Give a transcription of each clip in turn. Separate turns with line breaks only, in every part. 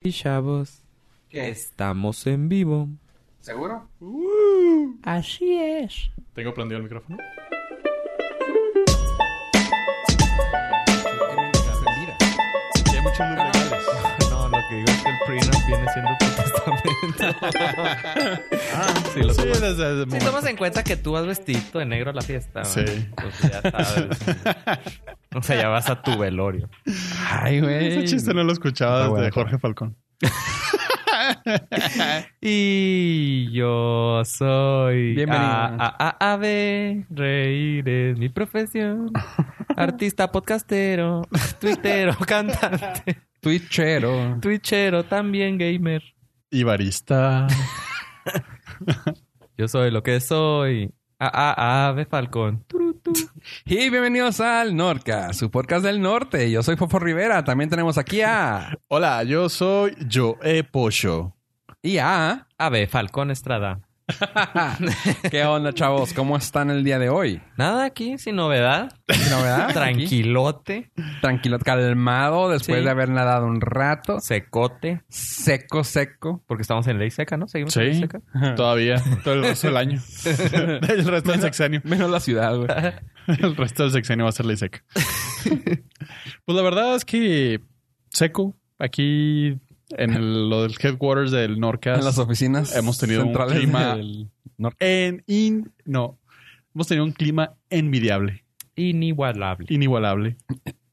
y chavos,
¿Qué?
estamos en vivo.
¿Seguro?
Así es.
Tengo prendido el micrófono. Ya hay muchos legales.
No, lo que digo es que el prenup viene siendo tu testamento. sí, lo tomo.
desde el
Si tomas en cuenta que tú vas vestidito de negro a la fiesta,
Sí.
¿no? Pues ya sabes. o sea, ya vas a tu velorio. Ay,
Ese chiste no lo escuchaba
Está
desde
bueno.
Jorge Falcón.
Y yo soy.
Bienvenido.
A, a, a, ave, reír es mi profesión. Artista, podcastero, twittero, cantante,
Twitchero.
twitchero, también gamer.
Y barista.
Yo soy lo que soy. A, a, ave, falcón. Turu, tu.
Y bienvenidos al Norca, su podcast del norte. Yo soy Fofo Rivera. También tenemos aquí a...
Hola, yo soy Joe Pocho.
Y a...
Ave, falcón, estrada.
¿Qué onda, chavos? ¿Cómo están el día de hoy?
Nada aquí, sin novedad.
¿Sin
Ah,
novedad?
Tranquilote,
Aquí, Tranquilo, calmado después
Sí.
de haber nadado un rato.
secote,
Seco, seco.
porque estamos en ley seca, ¿no? Seguimos en ley
Sí,
seca.
todavía. Ah. Todo el resto del año. el resto del sexenio.
Menos la ciudad, güey.
El resto del sexenio va a ser ley seca. pues la verdad es que seco. Aquí en el- lo del headquarters del Norcas.
En las oficinas
hemos tenido un
centrales
clima
del norte.
en, in- no. Hemos tenido un clima envidiable,
Inigualable.
inigualable.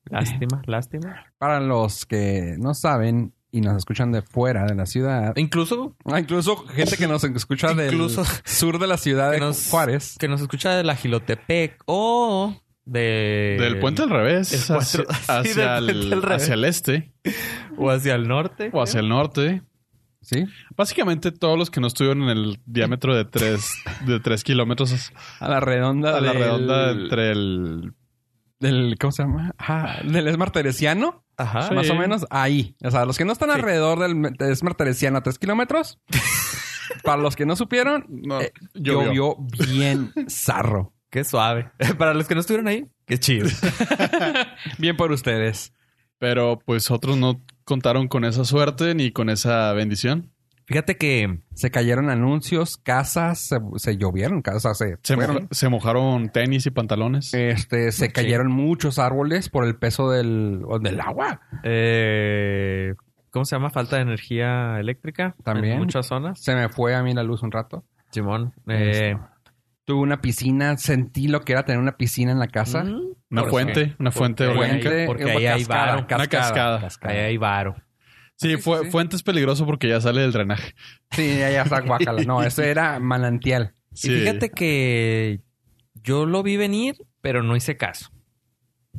Lástima, lástima.
Para los que no saben y nos escuchan de fuera de la ciudad.
Incluso
Ah, incluso gente que nos escucha del
Incluso-
sur de la ciudad de
que nos-
Juárez.
que nos escucha de la Gilotepec o de...
Del puente al
el
revés, hacia,
cuatro- sí,
hacia
del puente
el,
al revés.
hacia el este
O hacia el norte.
o hacia el norte.
¿Sí?
Básicamente todos los que no estuvieron en el diámetro de 3 de tres kilómetros
A la redonda
a la
del-
redonda entre el...
del ¿cómo se llama? Ah, del Esmar Teresiano,
Ajá.
Sí.
más o menos ahí. O sea, los que no están alrededor del Esmar Teresiano a tres kilómetros, para los que no supieron, eh,
llovió.
llovió bien zarro.
Qué suave. Para los que no estuvieron ahí, qué chido.
Bien por ustedes.
Pero pues otros no contaron con esa suerte ni con esa bendición.
Fíjate que
Se cayeron anuncios, casas, se, se llovieron, casas se,
Se,
fueron.
moja- se mojaron tenis y pantalones.
Este, se cayeron muchos árboles por el peso del, o del agua.
Eh, ¿Cómo se llama? Falta de energía eléctrica.
También.
En muchas zonas.
Se me fue a mí la luz un rato.
Simón. eh,
Tuve una piscina, sentí lo que era tener una piscina en la casa.
mm,
Una
¿por
fuente,
qué?
una fuente
Porque-
orgánica.
porque
una
ahí hay
cascada,
varo.
Una cascada.
Ahí hay varo.
Sí,
Sí,
fue,
sí, sí.
fuente es peligroso porque ya sale del drenaje.
Sí, ya, ya está guácala. No, ese era manantial.
Sí.
Y fíjate que yo lo vi venir, pero no hice caso.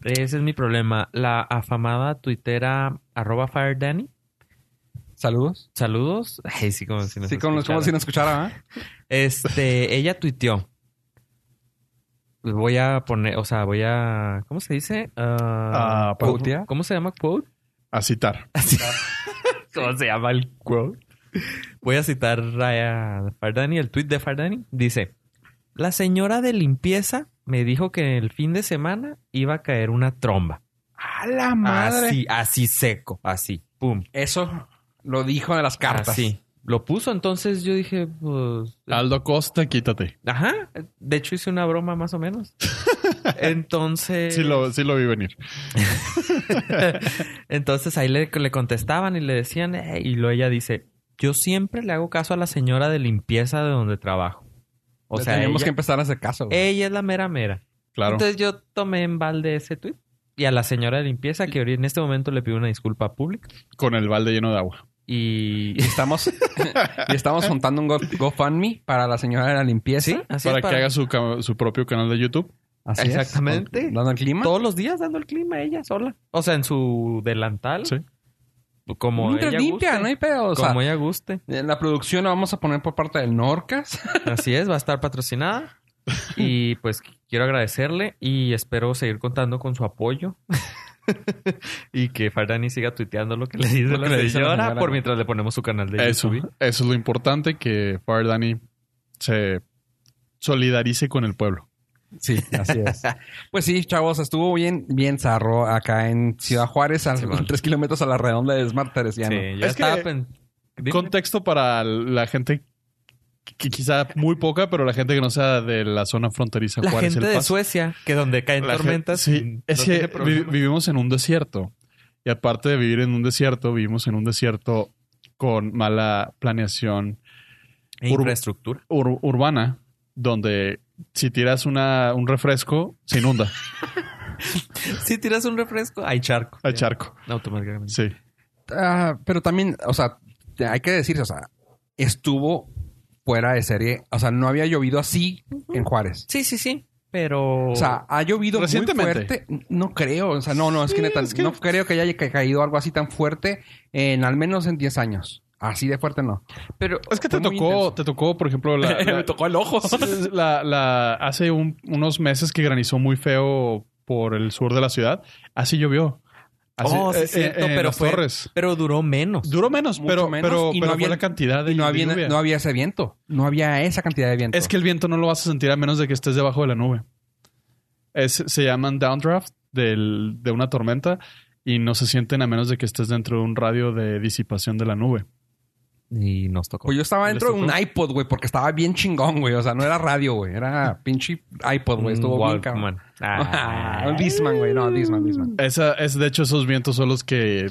Ese es mi problema. La afamada tuitera arroba Fire Danny.
Saludos.
Saludos. Ay, sí, como si nos
sí, como, como
escuchara.
si no escuchara. ¿ah?
Este, ella tuiteó. Voy a poner, o sea, voy a. ¿Cómo se dice? Ah,
Ah, pa-
¿Putear?
¿Cómo se llama? ¿Quote?
A citar.
¿Cómo se llama el quote? Voy a citar a Fardani, el tweet de Fardani. Dice: La señora de limpieza me dijo que el fin de semana iba a caer una tromba.
¡A la madre!
Así, así seco, así, pum.
Eso lo dijo de las cartas.
Así. Lo puso, entonces yo dije, pues.
Aldo Costa, quítate.
Ajá. De hecho, hice una broma más o menos. Entonces.
Sí lo, sí lo vi venir.
Entonces ahí le, le contestaban y le decían, eh, y luego ella dice: Yo siempre le hago caso a la señora de limpieza de donde trabajo. O
Le
sea,
teníamos
ella, Eh.
que empezar a hacer caso. güey.
ella es la mera mera.
Claro.
Entonces yo tomé en balde ese tweet y a la señora de limpieza, que ahorita en este momento le pido una disculpa pública.
Con el balde lleno de agua.
Y.
Y estamos, y estamos juntando un Go- GoFundMe para la señora de la limpieza.
Sí, así es
para, que haga su, ca- su propio canal de YouTube.
Así es.
Exactamente.
Dando el clima.
Todos los días dando el clima a ella sola. O sea, en su delantal.
Sí.
Como
Mientras
ella
limpia,
guste.
no hay pedo. O sea,
como ella guste.
Eh, la producción la vamos a poner por parte del Norcas.
Así es, va a estar patrocinada. Y pues quiero agradecerle y espero seguir contando con su apoyo. y que Fardani siga tuiteando lo que le dice
Lo que
la
le dice la
señora
señora.
por mientras le ponemos su canal de
Eso.
YouTube.
Eso es lo importante, que Fire Danny se solidarice con el pueblo.
Sí, así es. pues sí, chavos, estuvo bien, bien zarro acá en Ciudad Juárez, a
Sí, man.
tres kilómetros a la redonda de Smart Teresiano.
Sí, yo
Es que-
estaba pen- Dime.
Contexto para la gente que quizá muy poca, pero la gente que no sea de la zona fronteriza
La
Juárez,
gente
El
de
Paso.
Suecia, que donde caen
La gen-
tormentas.
Sí, es
no
que
tiene
vi-
problema.
vivimos en un desierto. Y aparte de vivir en un desierto, vivimos en un desierto con mala planeación
E infraestructura.
ur- urbana, donde si tiras una, un refresco, se inunda
Si tiras un refresco, hay charco.
al charco.
Automáticamente.
Sí.
Ah, pero también, o sea, te- hay que decir, o sea, estuvo fuera de serie. O sea, no había llovido así en Juárez.
Sí, sí, sí. Pero.
O sea, ha llovido muy
Oh. Recientemente.
fuerte. No creo, o sea, no, no, es que neta,
es que-
no creo que haya ca- caído algo así tan fuerte en al menos en 10 años. Así de fuerte no.
pero
Es que te
Fue muy
tocó,
intenso.
te tocó, por ejemplo, la, la-
el ojo.
la- la- hace un- unos meses que granizó muy feo por el sur de la ciudad. Así llovió. Así,
Oh, sí,
eh,
cierto,
en
pero
las
fue-
torres.
Pero duró menos.
Duró menos,
Mucho
pero,
menos,
pero,
y no
pero
había-
fue la cantidad de,
Y no había,
de lluvia.
no había ese viento. No había esa cantidad de viento.
Es que el viento no lo vas a sentir a menos de que estés debajo de la nube. Es- se llaman downdraft del- de una tormenta y no se sienten a menos de que estés dentro de un radio de disipación de la nube.
Y nos tocó.
Pues yo estaba
¿Les
dentro de un
tocó?
iPod, güey, porque estaba bien chingón, güey. O sea, no era radio, güey. Era pinche iPod, güey. Estuvo bien cabrón.
Walkman. Ah.
Un Disman, güey. No, Disman, Disman.
Esa, es, de hecho, esos vientos son los que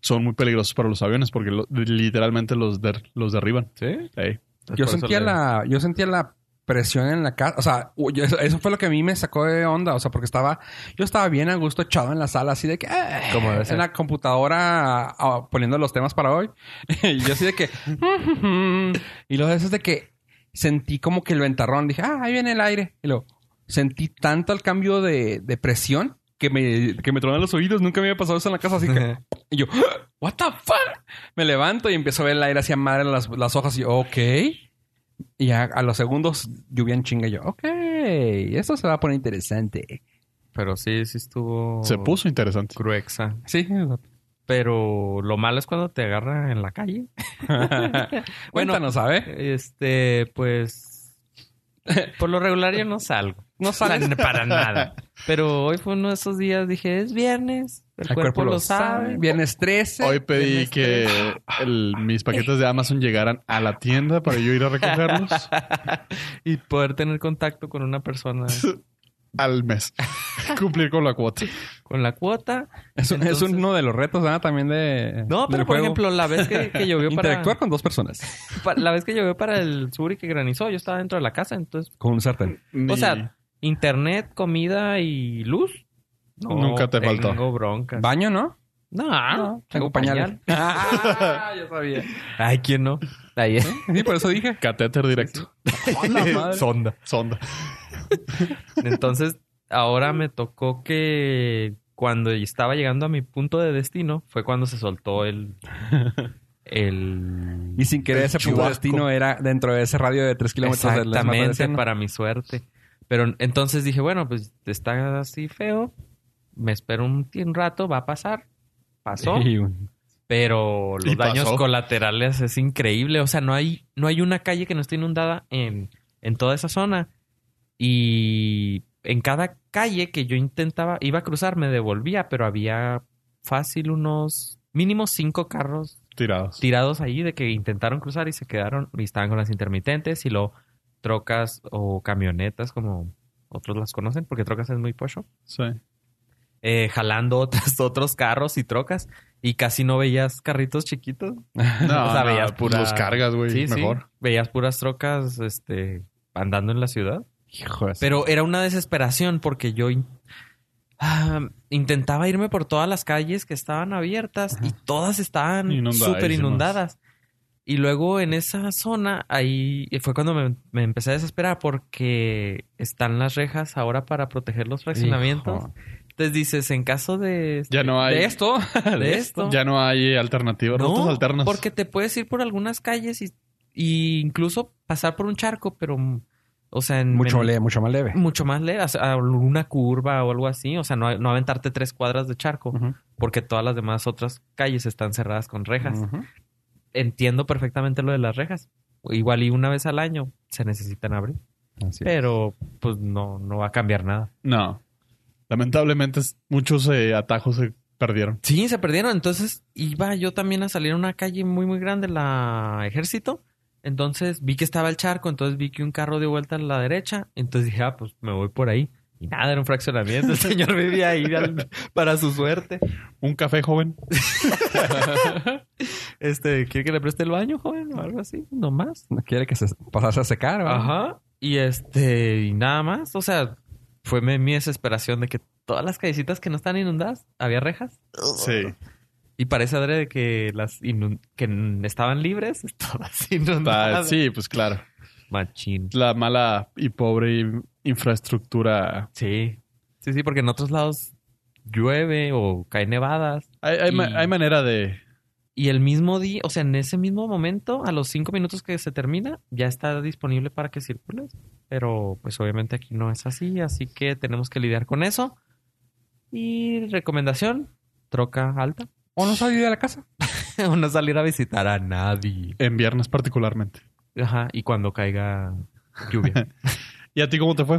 son muy peligrosos para los aviones porque lo- literalmente los, der- los derriban.
¿Sí?
Ey.
Yo
Por eso
sentía
le-
la, yo sentía la presión en la casa. O sea, u- yo- eso, eso fue lo que a mí me sacó de onda. O sea, porque estaba, yo estaba bien a gusto echado en la sala, así de que, eh,
Como debe ser.
en la computadora ah, poniendo los temas para hoy. y yo así de que, y luego eso es de que sentí como que el ventarrón. Dije, ah, ahí viene el aire. Y luego sentí tanto el cambio de, de presión que me, que me tronaron los oídos. Nunca me había pasado eso en la casa, así que. Y yo, ¡Ah! ¿What the fuck? Me levanto y empiezo a ver el aire hacia madre las, las hojas y yo, ok. Y ya a los segundos lluvia en chinga y yo, ok, esto se va a poner interesante.
Pero sí, sí estuvo.
Se puso interesante.
Cruexa.
Sí.
Pero lo malo es cuando te agarra en la calle.
bueno, no sabe.
Este, pues. Por lo regular yo no salgo.
No sale.
Plan- para nada. Pero hoy fue uno de esos días, dije, es viernes. El, cuerpo, lo sabe.
Viernes 13.
Hoy pedí
Viernes
que el- mis paquetes de Amazon llegaran a la tienda para yo ir a recogerlos
y poder tener contacto con una persona
al mes. Cumplir con la cuota.
con la cuota.
es, un- es
entonces-
uno de los retos, ¿ah? También de.
No, pero
del
por
juego.
ejemplo, la vez que, que llovió para,
Interactuar con dos personas.
pa- la vez que llovió para el sur y que granizó, yo estaba dentro de la casa, entonces
Con un sartén.
Ni-
O sea, internet, comida y luz. No
Nunca te
tengo
faltó.
broncas.
Baño, ¿no?
no, Ah, tengo,
Tengo
pañal.
pañal. Ah, yo sabía.
Ay, ¿quién no? Ahí es.
Sí, por eso dije.
catéter directo.
Sonda.
Sonda.
Entonces, ahora me tocó que cuando estaba llegando a mi punto de destino fue cuando se soltó el el
Y sin querer ese punto
chubasco.
de destino era dentro de ese radio de 3 kilómetros del
Exactamente,
Esmeralda.
para mi suerte. Pero entonces dije, bueno, pues está así feo. Me espero un, un rato, va a pasar. Pasó.
Y un-
Pero los
Y
daños
pasó.
colaterales es increíble. O sea, no hay, no hay una calle que no esté inundada en, en toda esa zona. Y en cada calle que yo intentaba, iba a cruzar, me devolvía, pero había fácil unos mínimo cinco carros
Tirados.
tirados ahí de que intentaron cruzar y se quedaron y estaban con las intermitentes y lo trocas o camionetas como otros las conocen porque trocas es muy pocho
Sí.
eh, jalando otras, otros carros y trocas y casi no veías carritos chiquitos
No,
O sea,
no,
veías
pues
pura-
los cargas, güey.
sí sí
mejor.
veías puras trocas este andando en la ciudad
Hijo de-
pero era una desesperación porque yo in- ah, intentaba irme por todas las calles que estaban abiertas y todas estaban
Inundadísimas.
súper inundadas. Y luego en esa zona, ahí fue cuando me, me empecé a desesperar porque están las rejas ahora para proteger los fraccionamientos.
Hijo.
Entonces dices, en caso de,
Ya no hay.
De esto.
de esto,
Ya no hay alternativa. rutas alternas.
porque te puedes ir por algunas calles y, y incluso pasar por un charco, pero, mm, o sea, en
mucho,
men-
leve, mucho más leve.
mucho más leve, o sea, una curva o algo así, o sea, no, no aventarte tres cuadras de charco,
Ujú.
porque todas las demás otras calles están cerradas con rejas.
Ujú.
Entiendo perfectamente lo de las rejas. Igual y una vez al año se necesitan abrir.
Así es.
Pero pues no, no va a cambiar nada.
No. Lamentablemente es- muchos eh, atajos se perdieron.
Sí, se perdieron. Entonces iba yo también a salir a una calle muy, muy grande, la Ejército. Entonces vi que estaba el charco, entonces vi que un carro dio vuelta a la derecha. Entonces dije, ah, pues me voy por ahí. Y nada, era un fraccionamiento. El señor vivía ahí al- para su suerte.
Un café joven.
Este, ¿quiere que le preste el baño, joven? O algo así, nomás.
No quiere que se pasase a secar, ¿verdad?
Ajá. Y este, y nada más. O sea, fue mi, mi desesperación de que todas las callecitas que no están inundadas, había rejas.
Sí.
Y parece adrede que las inun- que n- estaban libres, todas
Está-
inundadas.
sí, pues claro.
Machín.
La mala y pobre infraestructura.
Sí. Sí, sí, porque en otros lados llueve o cae nevadas.
Hay, hay ma-
Y-
hay manera de...
Y el mismo día, o sea, en ese mismo momento, a los cinco minutos que se termina, ya está disponible para que circules. Pero pues obviamente aquí no es así, así que tenemos que lidiar con eso. Y recomendación, troca alta.
O no salir de la casa.
o no salir a visitar a nadie.
En viernes particularmente.
Ajá, y cuando caiga lluvia.
¿Y a ti cómo te fue?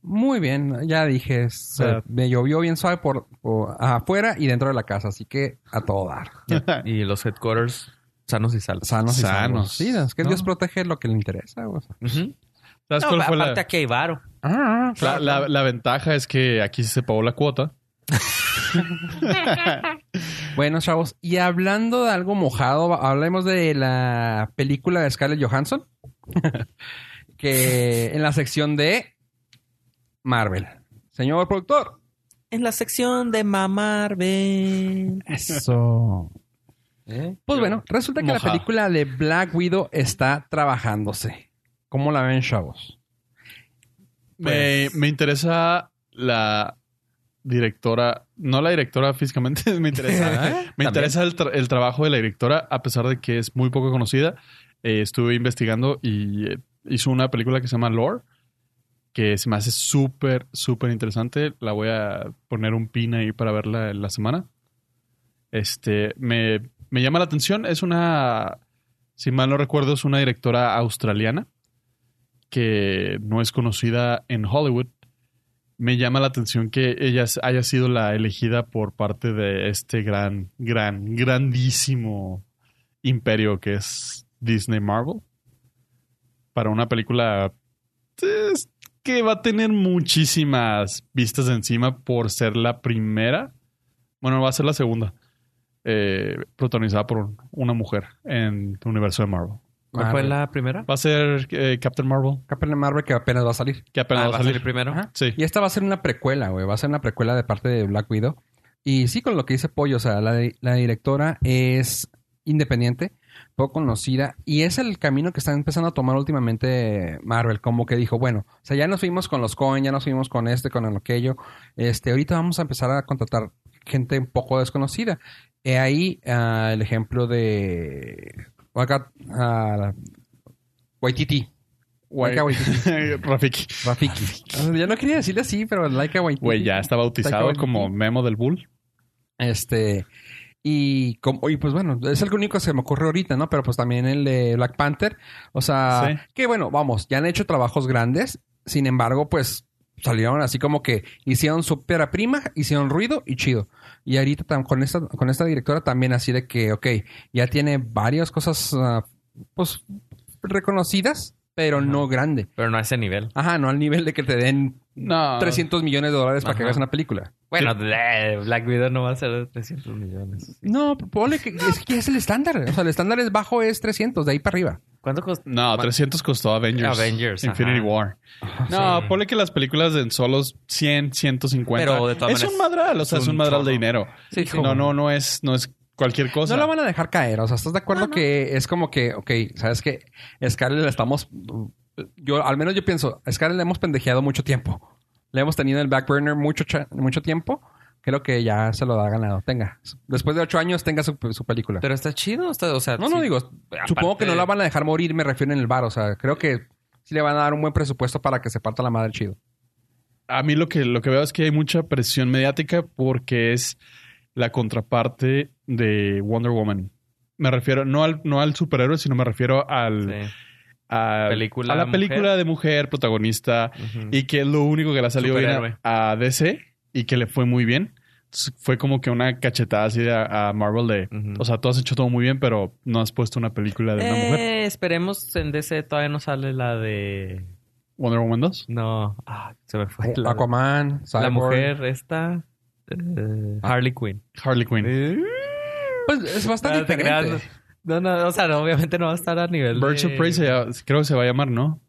Muy bien, ya dije. se-
O sea-
me llovió bien suave por, por afuera y dentro de la casa, así que a todo dar.
y los headquarters sanos y salvos.
Sanos y
Sanos.
sanos. Sí, es que
No.
Dios protege lo que le interesa. o sea.
Ujú.
¿Sabes
No,
cuál
pa-
fue la,
aparte aquí hay varo.
Ah,
la- la- la ventaja? Es que aquí se pagó la cuota.
Bueno, chavos, y hablando de algo mojado, hablemos de la película de Scarlett Johansson, que en la sección de Marvel. Señor productor.
En la sección de mamar, ven.
Eso.
¿Eh?
Pues bueno, resulta que la
Mojado.
película de Black Widow está trabajándose. ¿Cómo la ven, chavos?
Me-
Pues-
me, interesa la directora, no la directora físicamente, me interesa, me
También.
interesa el, tra- el trabajo de la directora, a pesar de que es muy poco conocida. Eh, estuve investigando y eh, hizo una película que se llama Lore, que se me hace súper, súper interesante. La voy a poner un pin ahí para verla en la semana. Este, me, me llama la atención, es una, si mal no recuerdo, es una directora australiana que no es conocida en Hollywood, me llama la atención que ella s- haya sido la elegida por parte de este gran, gran, grandísimo imperio que es Disney Marvel para una película es que va a tener muchísimas vistas encima por ser la primera, bueno, va a ser la segunda, eh, protagonizada por un- una mujer en el universo de Marvel.
¿Cuál fue
Marvel.
la primera?
Va a ser eh, Captain Marvel,
Captain Marvel que apenas va a salir.
que apenas
Ah,
va a salir.
primero.
Ajá.
Sí.
Y esta va a ser una precuela, güey. Va a ser una precuela de parte de Black Widow. Y sí, con lo que dice Pollo, o sea, la, di- la directora es independiente, poco conocida, y es el camino que está empezando a tomar últimamente Marvel. Como que dijo, bueno, o sea, ya nos fuimos con los Coen, ya nos fuimos con este, con el aquello. Este, ahorita vamos a empezar a contratar gente un poco desconocida. He ahí ah, el ejemplo de. Waka- ah, Waititi. Waika Waititi.
Rafiki.
Rafiki. Yo Ah, no quería decirle así, pero Laika Waititi.
Güey, ya está bautizado
Taika
como
Waititi.
Memo del Bull.
Este. Y, como, y pues bueno, es el único que se me ocurre ahorita, ¿no? Pero pues también el de Black Panther. O sea,
Sí.
que bueno, vamos, ya han hecho trabajos grandes. Sin embargo, pues salieron así como que hicieron su ópera prima, hicieron ruido y chido. Y ahorita tam- con, esta, con esta directora también así de que, ok, ya tiene varias cosas, ah, pues, reconocidas, pero
Ajá.
no grande.
Pero no a ese nivel.
Ajá, no al nivel de que te den
No.
300 millones de dólares para que
Ajá.
hagas una película.
Bueno, bleh, Black Widow no va a ser de 300 millones.
No, ponle que es, que es el estándar. O sea, el estándar es bajo, es 300, de ahí para arriba.
¿Cuánto costó?
No, 300 costó Avengers.
Avengers,
Infinity
ajá.
War. No,
sí.
ponle que las películas en solos 100, 150.
Pero de todas
es un
maneras,
madral, o sea,
es
es un
un
madral de
chorro.
dinero.
Sí, sí.
No, no, no es, no es cualquier cosa.
no la van a dejar caer. O sea, ¿estás de acuerdo que es como que, ok, sabes que Scarlett la estamos. Yo, al menos yo pienso, a Scarlett la hemos pendejeado mucho tiempo. Le hemos tenido en el back burner mucho, cha- mucho tiempo. Creo que ya se lo ha ganado. Tenga. Después de ocho años, tenga su, su película.
Pero está chido. está- o sea,
No, no
sí.
digo.
Aparte-
Supongo que no la van a dejar morir, me refiero en el bar. O sea, creo que sí le van a dar un buen presupuesto para que se parta la madre chido.
A mí lo que, lo que veo es que hay mucha presión mediática porque es la contraparte de Wonder Woman. Me refiero no al, no al superhéroe, sino me refiero al,
Sí.
a,
Película
a la
mujer.
película de mujer protagonista
Ujú.
y que es lo único que le ha salido bien
Superhéroe.
a, a DC y que le fue muy bien. Entonces, fue como que una cachetada así de a, a Marvel de,
Ujú.
o sea, tú has hecho todo muy bien, pero no has puesto una película de una
Eh,
mujer.
Esperemos, en DC todavía no sale la de...
Wonder Woman 2.
No, ah, se me fue. La,
Eh, Aquaman,
la
Cyborg.
mujer esta, eh, Harley Quinn.
Harley Quinn.
Pues es bastante
Ah, te creas,
diferente.
¿Eh? No, no, o sea, no, obviamente no va a estar a nivel
Birds
de...
of Prey se llama- creo que se va a llamar, ¿no?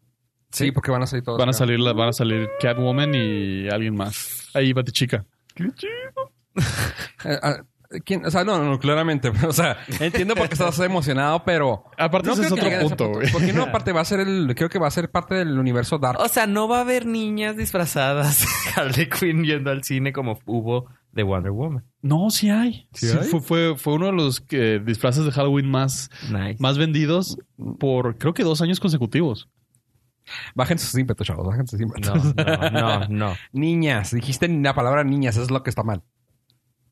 Sí, porque van a salir todos.
Van a
creo.
salir, la- van a salir Catwoman y alguien más. Ahí va chica.
Eh, ah, ¿quién? O sea, no, no, claramente. O sea, entiendo por qué estás emocionado, pero.
Aparte
No
ese es
creo que
otro
lleguen a ese
punto, güey.
Porque no, aparte va a ser el. Creo que va a ser parte del universo Dark.
O sea, no va a haber niñas disfrazadas Harley Quinn yendo al cine como hubo de Wonder Woman.
No, sí hay.
¿Sí
Sí
hay?
Fue, fue, fue uno de los que- disfraces de Halloween más,
Nice.
más vendidos por creo que dos años consecutivos.
Bajen sus ímpetos, chavos. Bajen sus
No,
ímpetos.
no, no, no.
Niñas. Dijiste la palabra niñas. Eso es lo que está mal.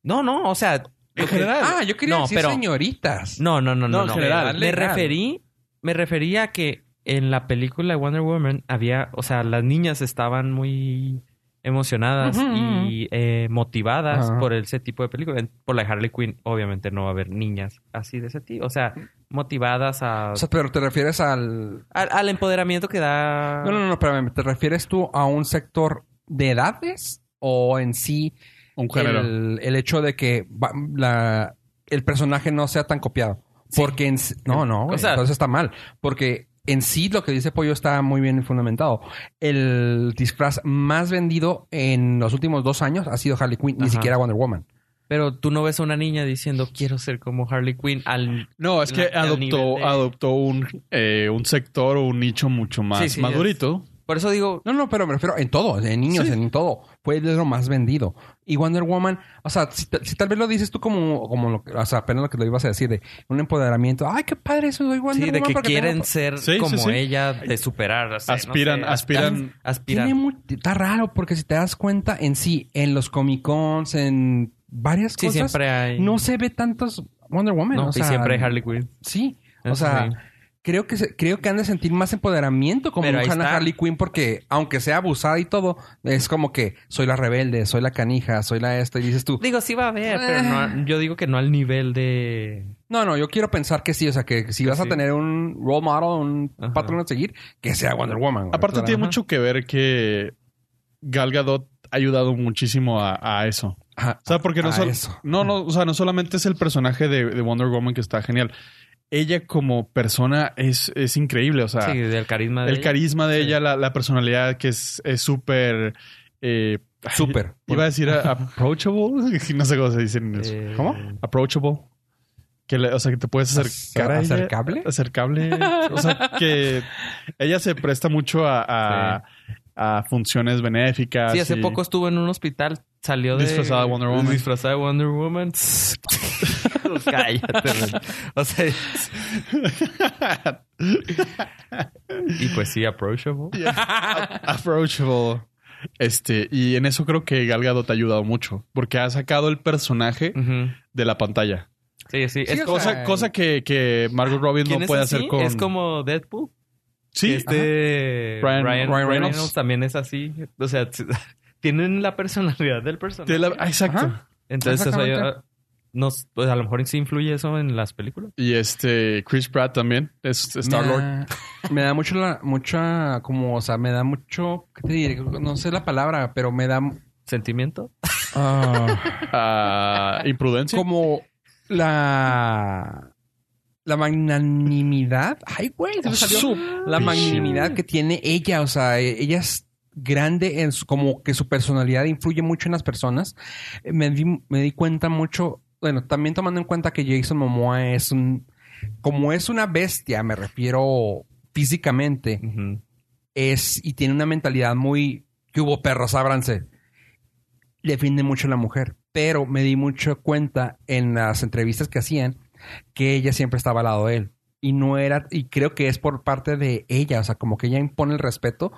No, no, o sea... lo que-
Ah, yo quería
No,
decir
pero-
señoritas.
No, no, no,
No,
no.
en
no.
general.
Me
Legal.
referí, me refería a que en la película de Wonder Woman había, o sea, las niñas estaban muy emocionadas
Ujú,
y eh, motivadas
Ajá.
por ese tipo de película. En- Por la de Harley Quinn, obviamente no va a haber niñas así de ese tipo. O sea, motivadas a,
O sea, pero te refieres al.
al, al empoderamiento que da.
No, no, no, espérame. ¿Te refieres tú a un sector de edades o en sí
Un género.
el, el hecho de que va- la- el personaje no sea tan copiado? Porque en s- no, no, güey,
O sea-
entonces está mal. Porque en sí lo que dice Pollo está muy bien fundamentado. El disfraz más vendido en los últimos dos años ha sido Harley Quinn, ni
Ajá.
siquiera Wonder Woman.
Pero tú no ves a una niña diciendo quiero ser como Harley Quinn al.
No, es que
la- el
adoptó,
nivel de-
adoptó un, eh, un sector o un nicho mucho más
Sí, sí,
madurito.
Por eso digo,
No, no, pero me refiero en todo, en niños,
Sí.
en todo. Fue de lo más vendido. Y Wonder Woman, o sea, si, ta- si tal vez lo dices tú como, como lo, que- o sea, apenas lo que lo ibas a decir de un empoderamiento. Ay, qué padre eso soy Wonder
sí, de
Woman
que
porque tengo
quieren
to-".
ser
Sí, sí,
como
sí.
ella, de superar. o sea, no
Aspiran-
sé,
aspiran-
aspiran.
Tiene mu- está raro porque si te das cuenta en sí, en los Comic Cons, en varias
Sí,
cosas,
siempre hay.
no se ve tantos Wonder Woman.
No,
o sea,
y siempre hay Harley Quinn.
Sí, o
Eso
sea,
sí.
creo que se- creo que han de sentir más empoderamiento como
Pero
un
ahí
Hannah
está.
Harley Quinn porque aunque sea abusada y todo, es como que soy la rebelde, soy la canija, soy la esta y dices tú,
Digo, sí va a haber, pero no- yo digo que no al nivel de.
no, no, yo quiero pensar que sí, o sea, que si
Que
vas a
sí.
tener un role model, un
Ajá.
patrón a seguir, que sea Wonder Woman. güey.
Aparte
Claro.
tiene
ajá.
mucho que ver que Gal Gadot ha ayudado muchísimo a, a eso.
Ajá.
O sea, porque no,
Ah,
sol-
eso.
no, no, o sea, no solamente es el personaje de, de Wonder Woman que está genial. Ella como persona es, es increíble. O sea,
sí, del carisma de.
el
ella.
carisma de
Sí.
ella, la, la personalidad que es es súper... eh,
Súper.
Iba a decir a- approachable. No sé cómo se dice en eso.
Eh,
¿Cómo?
Approachable. Que le- o sea, que te puedes acercar a ella.
¿Acercable?
Acercable. O sea, que ella se presta mucho a, a- a funciones
Ah,
benéficas.
Sí, hace
y-
poco estuvo en un hospital, salió de.
Disfrazada de Wonder Woman.
Disfrazada de Wonder Woman. Pues Cállate. güey. o sea. y pues sí, approachable.
Approachable. Este, y en eso creo que Gal Gadot te ha ayudado mucho. Porque ha sacado el personaje
Ujú.
de la pantalla.
Sí, sí.
Sí,
es cosa.
o
Cosa,
sea,
cosa que, que Margot Robbie
¿quién
no
es
puede
así?
hacer con...
Es como Deadpool.
Sí,
Este
Ajá. Ryan-
Ryan,
Ryan
Reynolds.
Reynolds
también es así. O sea, t- tienen la personalidad del personaje.
de la- ah, exacto.
Ajá.
Entonces, o sea,
Exactamente.
yo- ah, nos, pues, a lo mejor sí influye eso en las películas.
Y este, Chris Pratt también. Es
Me
Star-Lord.
da- Me da mucho la, mucha, como, o sea, me da mucho, ¿qué te diré? No sé la palabra, pero me da
¿Sentimiento?
ah,
Ah, imprudencia.
como la la magnanimidad. Ay, güey, se me salió. La magnanimidad que tiene ella, o sea, e- ella es grande en su- como que su personalidad influye mucho en las personas. Eh, Me di, me di cuenta mucho, bueno, también tomando en cuenta que Jason Momoa es un, como es una bestia, me refiero físicamente,
Ujú.
es y tiene una mentalidad muy que hubo perros, ábranse. Defiende mucho a la mujer, pero me di mucho cuenta en las entrevistas que hacían que ella siempre estaba al lado de él y no era y creo que es por parte de ella, o sea, como que ella impone el respeto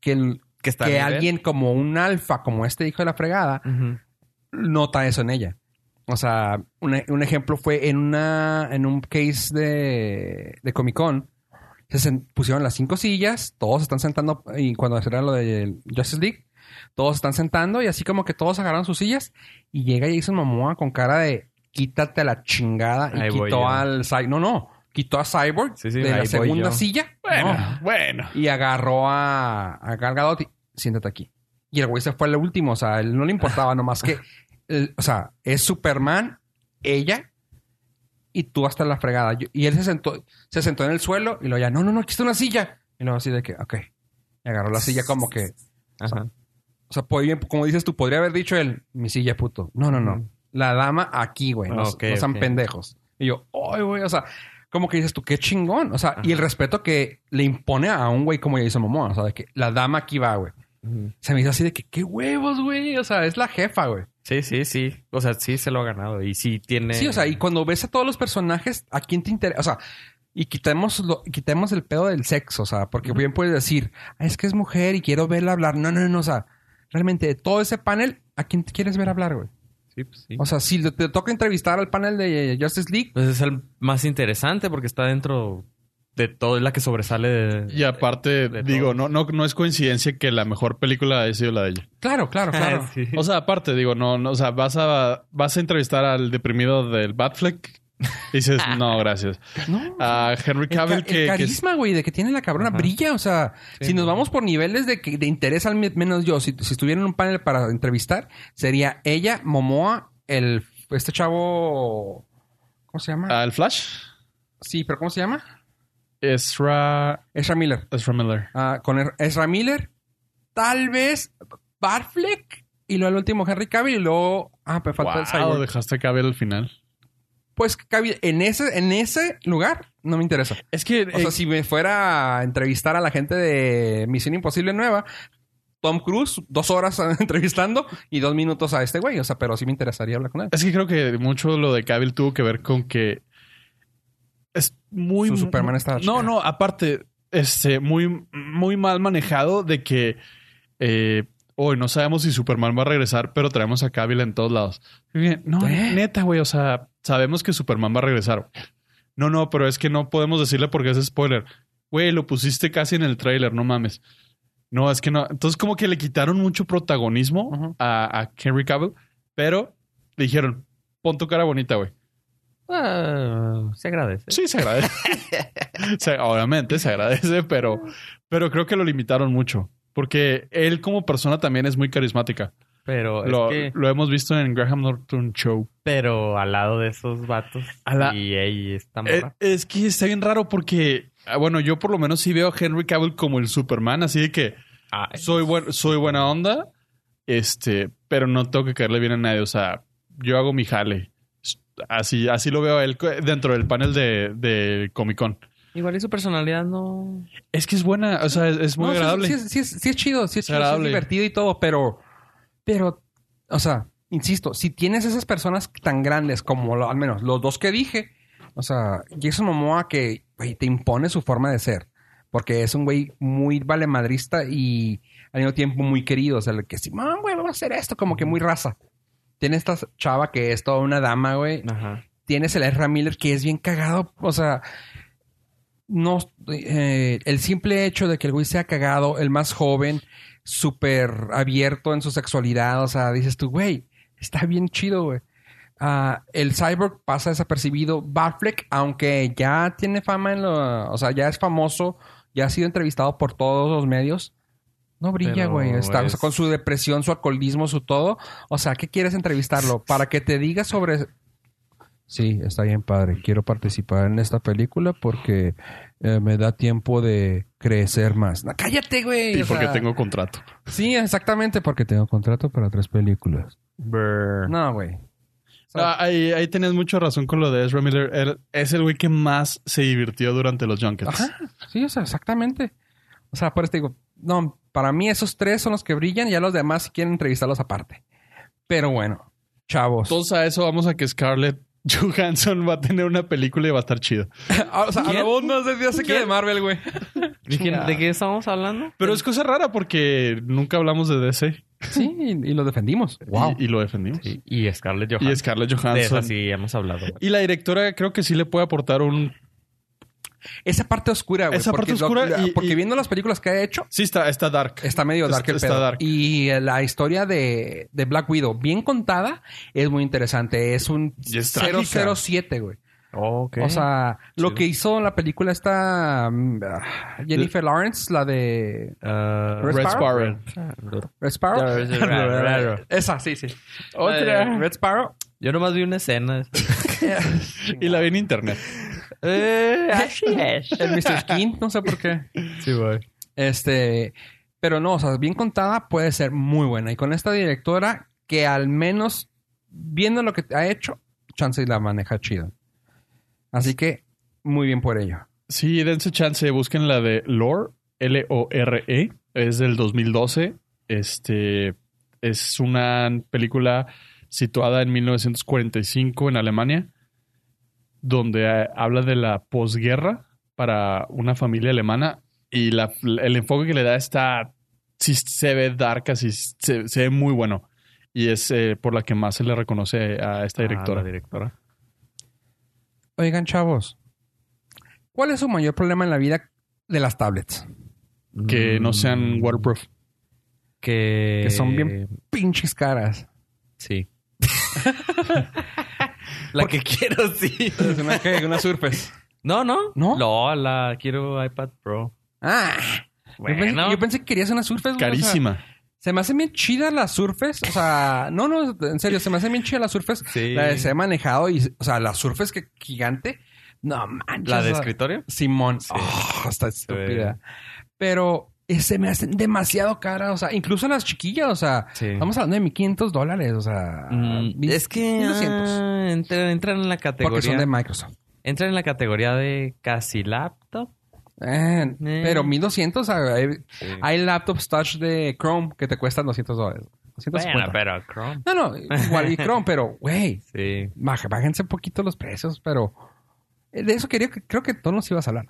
que el-
Que está
que
al nivel.
alguien como un alfa como este hijo de la fregada
Ujú.
nota eso en ella. O sea, un, un ejemplo fue en una en un case de, de Comic Con se sen- pusieron las cinco sillas, todos están sentando, y cuando era lo de Justice League, todos están sentando y así como que todos agarraron sus sillas y llega Jason Momoa con cara de quítate a la chingada y
Ahí voy
quitó
yo.
al... Cy- No, no, quitó a Cyborg
Sí, sí,
de la
ahí voy
segunda
yo.
silla.
Bueno,
No
bueno.
y agarró a, a Gal Gadot y siéntate aquí. Y el güey se fue el último, o sea, él no le importaba nomás que, el- o sea, es Superman, ella y tú hasta la fregada. Yo- y él se sentó, se sentó en el suelo y lo ya, no, no, no, aquí está una silla. Y luego así de que, ok. Y agarró la silla como que,
Ajá.
o sea, pues, bien, como dices tú, podría haber dicho él, mi silla, puto. No, no, no. La dama aquí, güey. No,
Ah, Ok,
no sean
ok.
pendejos. Y yo, ay, güey, o sea, como que dices tú, qué chingón. O sea, y el respeto que le impone a un güey como Jason Momoa. O sea, de que la dama aquí va, güey.
Ujú.
Se me hizo así de que, qué huevos, güey. O sea, es la jefa, güey.
Sí, sí, sí. O sea, sí se lo ha ganado. Y sí tiene.
Sí, o sea, y cuando ves a todos los personajes, ¿a quién te interesa? O sea, y quitemos, lo, quitemos el pedo del sexo, o sea, porque bien puedes decir, "Ah, es que es mujer y quiero verla hablar. No, no, no, o sea, realmente de todo ese panel, ¿a quién te quieres ver hablar, güey?
Sí, pues sí.
O sea, si te toca entrevistar al panel de Justice League,
Pues es el más interesante porque está dentro de todo, es la que sobresale de.
Y aparte,
de
digo,
todo.
no, no, no es coincidencia que la mejor película haya sido la de ella.
claro, claro, claro.
Sí.
O sea, aparte, digo, no, no, o sea, vas a, vas a entrevistar al deprimido del Batfleck. Y dices, no, gracias.
No.
A Henry
El, ca-
Cavill,
el
que, que es-
carisma, güey, de que tiene la cabrona
Ajá.
brilla. O sea,
Sí,
si nos
no.
vamos por niveles de que de interés al me- menos yo, si, si estuviera en un panel para entrevistar, sería ella, Momoa, el este chavo. ¿Cómo se llama?
al Flash.
Sí, pero ¿cómo se llama?
Ezra,
Ezra Miller.
Ezra Miller.
Ah, con Er- Ezra Miller, tal vez Barfleck y luego el último Henry Cavill y luego. Ah, pero faltó el
Wow,
Cyborg.
dejaste a Cavill al final.
Pues Cavill, en ese, en ese lugar no me interesa.
Es que,
O sea,
eh,
si me fuera a entrevistar a la gente de Misión Imposible Nueva, Tom Cruise, dos horas entrevistando y dos minutos a este güey. O sea, pero sí me interesaría hablar con él.
es que creo que mucho lo de Cavill tuvo que ver con que es muy...
Su Superman está la
No,
chica.
no, aparte, este, muy, muy mal manejado de que eh, hoy no sabemos si Superman va a regresar, pero traemos a Cavill en todos lados. Y dije, No,
¿Eh?
neta, güey, o sea, sabemos que Superman va a regresar. No, no, pero es que no podemos decirle porque es spoiler. Güey, lo pusiste casi en el tráiler, no mames. No, es que no. Entonces, como que le quitaron mucho protagonismo
Ujú.
a, a Henry Cavill, pero le dijeron, pon tu cara bonita, güey.
Ah, se agradece.
Sí, se agradece. Se- obviamente se agradece, pero, pero creo que lo limitaron mucho. Porque él como persona también es muy carismática.
Pero es
Lo,
que-
lo hemos visto en Graham Norton Show.
pero al lado de esos vatos.
A la-
Y ahí está
Eh,
morra.
es que está bien raro porque, ah, bueno, yo por lo menos sí veo a Henry Cavill como el Superman, así de que
Ay,
soy, buen, soy buena onda, este, pero no tengo que caerle bien a nadie. O sea, yo hago mi jale. Así, así lo veo a él co- dentro del panel de, de Comic Con.
Igual y su personalidad no.
Es que es buena, o sea, es, es muy
No, sí,
agradable.
Sí, sí, sí es- sí es chido, sí es, chido, sí es
Agradable.
divertido y todo, pero. Pero, o sea, insisto, si tienes esas personas tan grandes como lo- al menos los dos que dije, o sea, Jason Momoa que güey, te impone su forma de ser. Porque es un güey muy valemadrista y al mismo tiempo muy querido. O sea, el que Simón, güey, vamos a hacer esto, como que muy raza. Tiene esta chava que es toda una dama, güey
Ajá.
tienes el Ezra Miller que es bien cagado. O sea, no. eh, el simple hecho de que el güey sea cagado, el más joven, súper abierto en su sexualidad. O sea, dices tú, güey, está bien chido, güey. Ah, el Cyborg pasa desapercibido. Batfleck, aunque ya tiene fama en lo. O sea, ya es famoso, ya ha sido entrevistado por todos los medios. No brilla,
Pero
güey. Está o sea,
es-
con su depresión, su alcoholismo, su todo. O sea, ¿qué quieres entrevistarlo? Para que te diga sobre Sí, está bien padre. Quiero participar en esta película porque eh, me da tiempo de crecer más. No, cállate, güey.
Y
o
porque
sea.
tengo contrato.
Sí, exactamente, porque tengo contrato para tres películas. No, güey. O sea,
Ah, ahí, ahí tenías mucha razón con lo de Ezra Miller. Él es el güey que más se divirtió durante los junkets.
Ajá. Sí, o sea, exactamente. O sea, por eso te digo, no, para mí esos tres son los que brillan y ya los demás si quieren entrevistarlos aparte. Pero bueno, chavos.
Entonces a eso vamos a que Scarlett Johansson va a tener una película y va a estar chida.
o sea,
¿Quién?
hablamos más de Dios que de Marvel, güey.
¿De qué, de qué estábamos hablando?
Pero es cosa rara porque nunca hablamos de DC
Sí, y, y los defendimos.
y-
Wow.
y, lo defendimos.
Sí, Y Scarlett Johansson.
Y Scarlett
De
Johansson.
esa sí hemos hablado.
Y la directora creo que sí le puede aportar un
Esa parte oscura, güey.
Esa parte
porque lo-
oscura
la-
y-
porque
y-
viendo las películas que ha hecho,
Sí, está, está dark.
está medio
Está-
dark el
está
pedo.
dark.
Y eh, la historia de, de Black Widow, bien contada, es muy interesante. Es un
Y es trágica.
007, güey.
Oh, Ok.
O sea, lo
Chido.
que hizo en la película esta mm, ah, Jennifer Lawrence, la de
Ah,
Red
Red
Sparrow.
Sparrow.
Red Sparrow.
Ya, ya, ya, ya, ya.
Esa, sí, sí.
Otra.
La de Red Sparrow.
Yo nomás vi una escena.
Y la vi en internet.
eh, así es.
El Mr. Skin, no sé por qué.
Sí, güey.
Este, pero no, o sea, bien contada puede ser muy buena. Y con esta directora que al menos viendo lo que ha hecho, chance y la maneja chido. Así que muy bien por ello.
Sí, dense chance. Busquen la de Lore, L-O-R-E. E, Es del 2012. Este es una película situada en 1945 en Alemania, donde eh, habla de la posguerra para una familia alemana y la- el enfoque que le da está, sí se ve dark, así se, se ve muy bueno. Y es eh, por la que más se le reconoce a esta directora.
Ah, la directora.
Oigan, chavos, ¿cuál es su mayor problema en la vida de las tablets?
que no sean
Mm,
waterproof.
Que...
Que son bien- Pinches caras.
Sí. la que quiero, sí.
una, que una surface.
No, no.
¿No?
No, la quiero iPad Pro.
Ah, yo, pensé,
Bueno.
yo pensé que querías una surface. güey, o sea,
Carísima.
se me hacen bien chidas las surface. O sea, no, no, en serio, se me hacen bien chidas las surface.
Sí.
La de se ha manejado y, o sea, la surface que gigante. No manches.
¿La de
o sea,
escritorio?
Simón. Oh, está
ve.
estúpida. Pero eh, se me hacen demasiado caras. O sea, incluso las chiquillas. O sea,
Sí.
estamos hablando de 1500 dólares. O sea,
Mm,
mil-
es que
1200.
ah, entra- entran en la
Porque son
categoría
de Microsoft.
entran en la categoría de casi laptop.
Eh,
Eh.
Pero 1200. o sea, hay,
Sí.
hay laptops touch de Chrome que te cuestan 200 dólares.
Bueno,
250.
pero Chrome.
No, no, igual y Chrome, pero güey,
Sí.
baj- bájense un poquito los precios, pero eh, de eso quería que creo que tú nos ibas a hablar.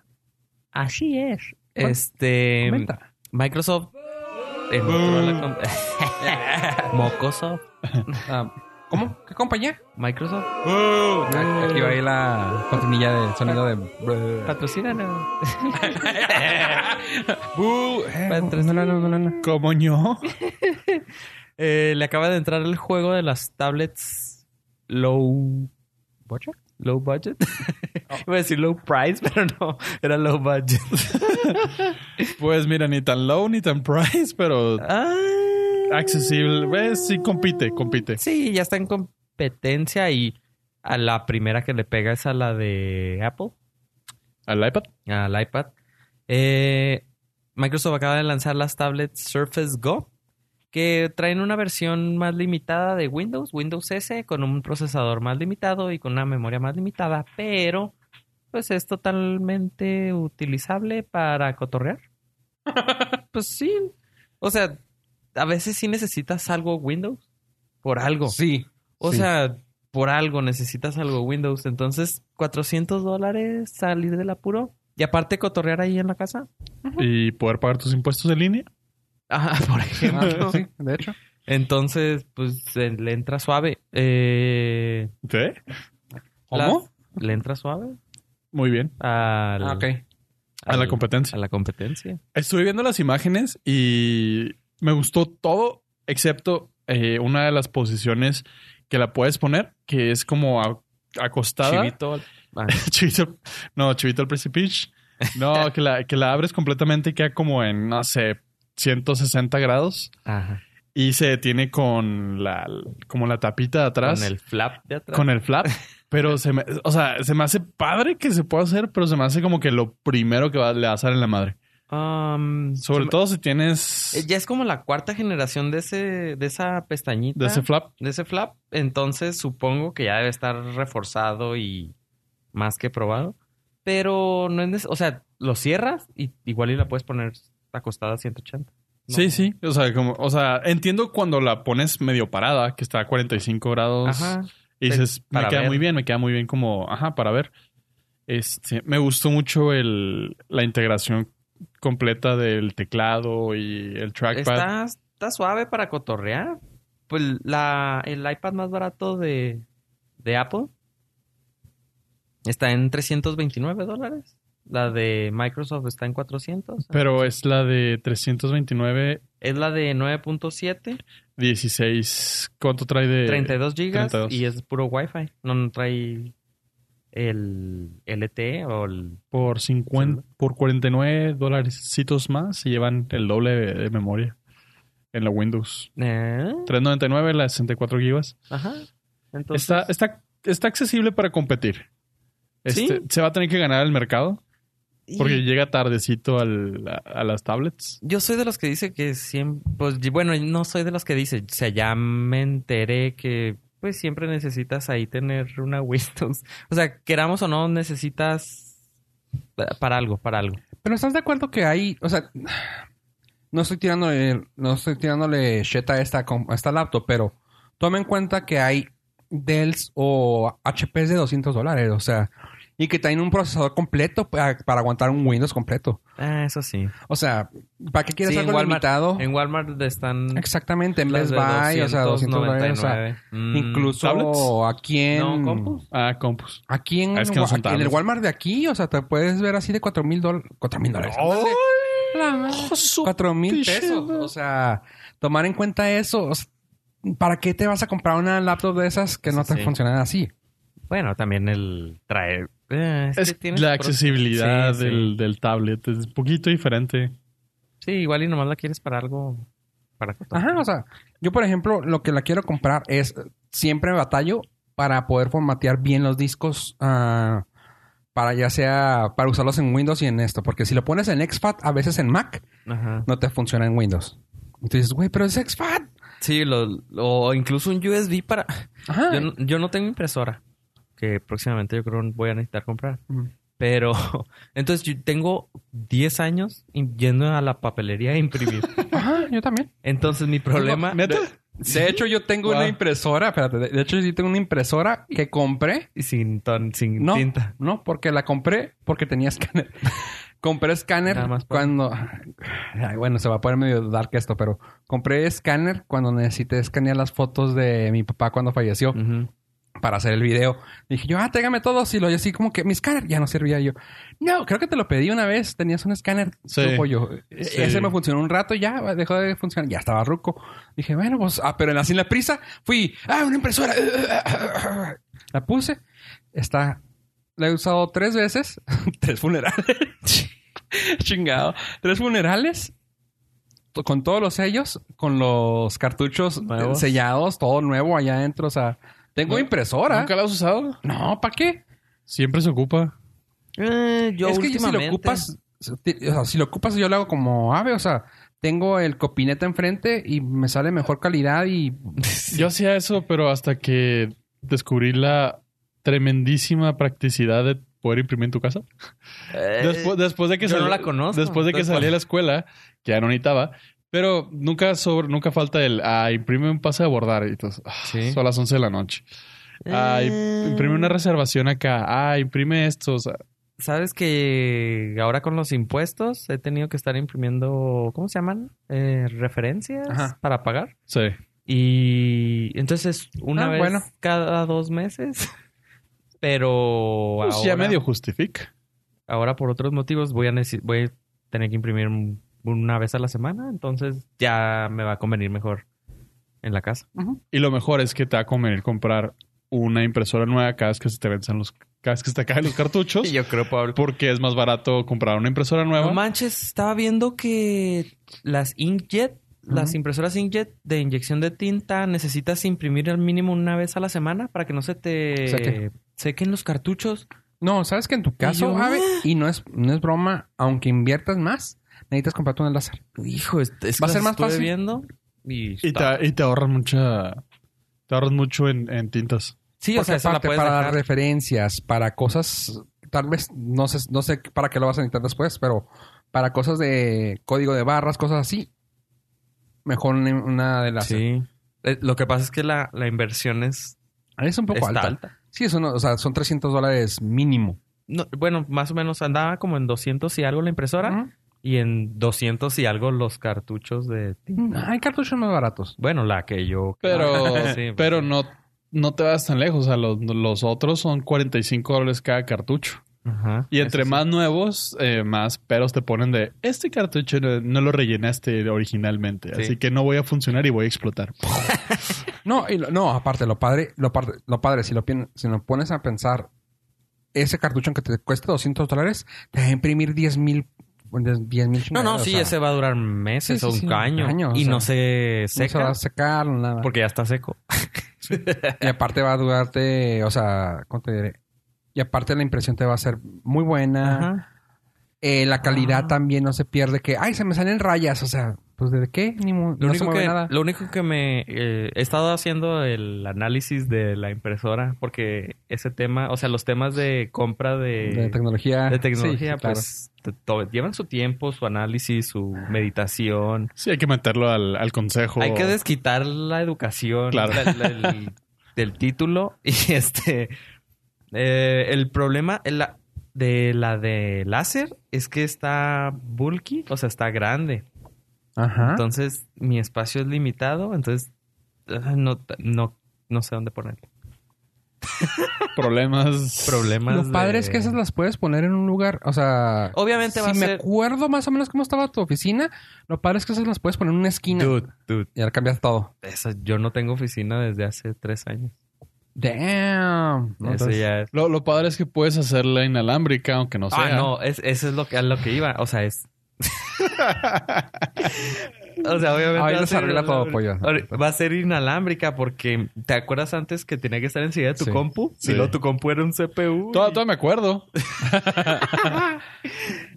Así es. Este
Comenta.
Microsoft entró a la com- Mocosoft.
Ah, ¿Cómo? ¿Qué compañía?
Microsoft
Ah, Aquí va ahí la cortinilla del sonido de.
patrocina.
Bú, eh,
Patrocin-
no, no, no, no, no.
Como yo.
Eh, le acaba de entrar el juego de las tablets low
¿Bocha?
low budget.
Oh.
Iba a decir low price, pero no, era low budget.
Pues mira, ni tan low ni tan price, pero
Ah.
accesible. Ves, sí compite, compite.
Sí, ya está en competencia y a la primera que le pega es a la de Apple,
¿Al iPad?
al iPad. Eh, Microsoft acaba de lanzar las tablets Surface Go, que traen una versión más limitada de Windows, Windows S, con un procesador más limitado y con una memoria más limitada, pero pues es totalmente utilizable para cotorrear. pues sí. O sea, a veces sí necesitas algo Windows por algo.
Sí.
O
Sí.
sea, por algo necesitas algo Windows. Entonces, 400 dólares salir del apuro. Y aparte, cotorrear ahí en la casa.
¿Y poder pagar tus impuestos en línea?
Ah, por ejemplo.
Ah, sí, de hecho.
Entonces, pues se- le entra suave. Eh,
¿Sí?
¿Cómo?
las- ¿Le entra suave?
Muy bien.
Al-
Ah, ok.
A la
al-
competencia.
A la competencia.
Estuve viendo las imágenes y me gustó todo, excepto eh, una de las posiciones que la puedes poner, que es como a- acostada.
Chivito. Ah,
Chivito. No, Chivito al precipicio. No, que la, que la abres completamente y queda como en, no sé, 160 grados.
ajá.
y se detiene con la como la tapita de atrás
Con el flap de atrás.
con el flap pero se me o sea se me hace padre que se pueda hacer pero se me hace como que lo primero que va, le va a salir en la madre
Um,
sobre
se me-
todo si tienes
eh, Ya es como la cuarta generación de ese de esa pestañita.
de ese flap
de ese flap. Entonces supongo que ya debe estar reforzado y más que probado. Pero no es neces- O sea, lo cierras y igual y la puedes poner acostada a 180. No.
sí sí o sea como o sea entiendo cuando la pones medio parada que está a 45 grados
Ajá.
Y dices, me
Para
queda
ver.
muy bien, me queda muy bien como, ajá, para ver. Este, me gustó mucho el, la integración completa del teclado y el trackpad.
Está, está suave para cotorrear. Pues la, el iPad más barato de, de Apple está en 329 dólares. La de Microsoft está en 400.
Pero es la de 329,
Es la de 9.7,
16. ¿Cuánto trae de...?
32 gigas
32.
y es puro Wi-Fi. No, no trae el LTE o el...
Por, 50, por 49 dolarcitos más y llevan el doble de, de memoria en la Windows.
¿Eh?
399, la de 64 gigas.
Ajá. Entonces,
Está, está, está accesible para competir.
¿Sí?
Este, Se va a tener que ganar el mercado
y-
porque llega tardecito al- a, a las tablets.
Yo soy de los que dice que siempre, pues y bueno, no soy de los que dice, o sea, ya me enteré que pues siempre necesitas ahí tener una Windows. O sea, queramos o no, necesitas pa- para algo, para algo.
Pero ¿estás de acuerdo que hay... O sea... No estoy tirándole... No estoy tirándole shit a esta, com- a esta laptop, pero... Toma en cuenta que hay Dells o HPs de 200 dólares. O sea... Y que tienen un procesador completo pa- para, aguantar un Windows completo.
Ah, eso sí.
O sea... ¿Para qué quieres
Sí,
algo
en Walmart-
limitado?
En Walmart están
Exactamente. En Oh. Best
las de
Buy, o sea, 200 dólares. O sea,
299. Mm,
incluso
¿tablets?
aquí en...
No, compus.
Ah, compus.
Aquí en,
Ah, es que no son
aquí en el
tablets.
Walmart de aquí, o sea, te puedes ver así de cuatro mil dólares. Cuatro mil dólares. La madre. Cuatro mil
pinche
pesos.
madre.
O sea, tomar en cuenta eso. o sea, ¿Para qué te vas a comprar una laptop de esas que no
Sí,
te
sí.
funcionan así?
Bueno, también el traer. eh, es
Es
que tiene sus
la
pros-
accesibilidad
Sí, sí.
Del, del tablet. Es un poquito diferente.
Sí, igual y nomás la quieres para algo. Para
Ajá, o sea, yo por ejemplo, lo que la quiero comprar es eh, siempre batallo para poder formatear bien los discos ah, para ya sea para usarlos en Windows y en esto, porque si lo pones en XFAT, a veces en Mac,
Ajá.
no te funciona en Windows. Entonces, güey, pero es XFAT.
Sí, lo, o incluso un USB para...
Ajá.
Yo no, yo no tengo impresora, que próximamente yo creo voy a necesitar comprar. Pero entonces yo tengo 10 años in- yendo a la papelería a imprimir.
Ajá, yo también.
Entonces mi problema...
¿Neta?
De hecho, yo tengo
Wow.
una impresora. Espérate, de de hecho, yo sí tengo una impresora que compré.
Y sin, ton- sin
No,
tinta.
no, porque la compré porque tenía escáner. compré escáner
Nada más para-
cuando. Ay, bueno, se va a poner medio dark esto, pero compré escáner cuando necesité escanear las fotos de mi papá cuando falleció
Ujú.
para hacer el video. Dije yo, ah, tégame todos. Y lo y así como que mi escáner ya no servía. Y yo, no, creo que te lo pedí una vez. Tenías un escáner.
Sí.
truco yo. E-
Sí.
Ese me funcionó un rato y ya dejó de funcionar. Ya estaba ruco. Dije, bueno, pues, ah, pero en la, sin la prisa fui, ah, una impresora. La puse. Está, la he usado tres veces. tres funerales. Chingado. Tres funerales. to- Con todos los sellos, con los cartuchos
Nuevos.
eh, sellados, todo nuevo allá adentro. O sea, tengo
No,
impresora.
¿Nunca la has usado?
No, ¿para qué?
Siempre se ocupa.
Eh, yo
es que si lo
últimamente-
ocupas, o sea, si lo ocupas, yo lo hago como ave, o sea, tengo el copineta enfrente y me sale mejor calidad y
Yo hacía eso, pero hasta que descubrí la tremendísima practicidad de poder imprimir en tu casa.
Eh,
Después, después de que
yo no
salí-
la conozco,
Después de que
entonces,
salí de
¿cuál?
la escuela, que ya no necesitaba, pero nunca sobre, nunca falta el ah, imprime un pase de abordar y entonces, ah,
Sí.
son las 11 de la noche. Ah,
Eh.
im- imprime una reservación acá. Ah, imprime esto. o sea,
Sabes que ahora con los impuestos he tenido que estar imprimiendo, ¿cómo se llaman? Eh, referencias
Ajá.
para pagar.
sí.
Y entonces una
Ah,
vez
bueno.
cada dos meses. Pero
Pues
ahora,
ya medio justifica.
ahora por otros motivos voy a, necesi- voy a tener que imprimir un- una vez a la semana. Entonces ya me va a convenir mejor en la casa.
Y lo mejor es que te va a convenir comprar una impresora nueva cada vez que se te vencen los, cada vez que se te caen los cartuchos.
yo creo, Pablo.
Porque es más barato comprar una impresora nueva.
No manches, estaba viendo que las inkjet, las
Ujú.
impresoras inkjet de inyección de tinta, necesitas imprimir al mínimo una vez a la semana para que no se te
Seque.
sequen los cartuchos.
no, sabes que en tu
yo?
caso, ave, y no es no es broma, aunque inviertas más, necesitas comprarte un láser.
Hijo, es, es
Va a
que las
ser más
estuve
fácil.
viendo y,
Y
está-
te, y te ahorras mucha. Te ahorras mucho en, en tintas.
Sí, o
Porque
sea, esa la
aparte
puedes
para
dejar.
referencias, para cosas tal vez no sé no sé para qué lo vas a necesitar después, pero para cosas de código de barras, cosas así. Mejor una- una de las
Sí. Eh, Lo que pasa es que la, la inversión es
es un poco
está
alta. Sí, eso no, o sea, son 300 dólares mínimo.
No, bueno, más o menos andaba como en 200 y algo la impresora
Ujú.
y en 200 y algo los cartuchos de
Mm,
tinta.
Hay cartuchos más baratos.
Bueno, la que yo...
Pero,
Sí, pues,
pero
sí.
no, no te vas tan lejos. O sea, los, los otros son 45 dólares cada cartucho.
Ajá.
Y entre
Eso sí.
más nuevos, eh, más peros te ponen de este cartucho no, no lo rellenaste originalmente,
Sí.
así que no voy a funcionar y voy a explotar.
No, y lo- no, aparte, lo padre, lo, par- lo padre, si lo, pien- si lo pones a pensar, ese cartucho que te cuesta 200 dólares, te va a imprimir 10 mil.
No, no, sí, ese va a durar meses
Sí,
o
sí, sí,
un año.
años,
y
o
no
sea,
se
se,
seca
va a secar, nada.
porque ya está seco.
Y aparte va a durarte, o sea, ¿cómo te diré? Y aparte la impresión te va a ser muy buena.
Ajá.
Eh, la calidad
Ah.
también no se pierde. Que, ay, se me salen rayas. O sea, pues ¿de qué? Ni mu-
Lo,
no
único
se mueve
que,
nada.
lo único que me eh, he estado haciendo el análisis de la impresora, porque ese tema, o sea, los temas de compra de,
de tecnología.
de
Sí,
tecnología,
sí, claro.
pues te- to- llevan su tiempo, su análisis, su meditación.
Sí, hay que meterlo al, al consejo.
Hay que desquitar la educación
Claro.
la- la- el- del título. Y este. eh, el problema en la- de la de láser es que está bulky, o sea, está grande.
Ajá.
Entonces, mi espacio es limitado, entonces ah, no, no, no sé dónde ponerlo.
Problemas.
Problemas.
Lo padre
de-
es que esas las puedes poner en un lugar, o sea...
Obviamente
si
va a
me
ser.
acuerdo más o menos cómo estaba tu oficina, lo padre es que esas las puedes poner en una esquina.
Dude, dude.
Y ahora cambias todo.
eso- yo no tengo oficina desde hace tres años.
Damn.
Eso
No, entonces-
ya es.
Lo, lo padre es que puedes hacerla inalámbrica, aunque no sea.
ah, no, es- eso es lo que, a lo que iba. O sea, es. o sea, obviamente.
Ahí
va a
les
ser
arregla todo,
inalámbrica.
pollo.
Va a ser inalámbrica porque te acuerdas antes que tenía que estar enseguida de tu
Sí.
compu.
Sí.
Si no, tu compu era un CPU.
Todavía, todavía me acuerdo.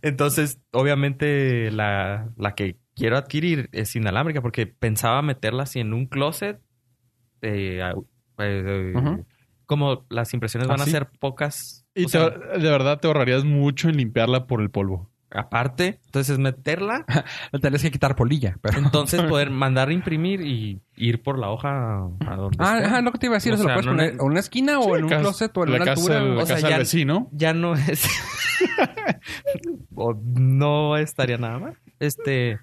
Entonces, obviamente, la, la que quiero adquirir es inalámbrica porque pensaba meterla así en un closet. eh, a- eh,
Ujú. Ah,
Como las impresiones van
Así.
a ser pocas.
Y
o sea,
te- de verdad te ahorrarías mucho en limpiarla por el polvo.
aparte, entonces meterla
Le tendrías que quitar polilla, pero...
Entonces poder mandar a imprimir y ir por la hoja a donde
Ah,
esté.
ajá, lo que te iba a decir,
O
o sea,
sea,
lo puedes
no
poner
ne-
en una esquina o
Sí,
en un
casa-
closet o en
la
una
casa,
altura.
la
o-
sea,
casa del
ya-
vecino.
Ya no es... o no estaría nada mal. Este...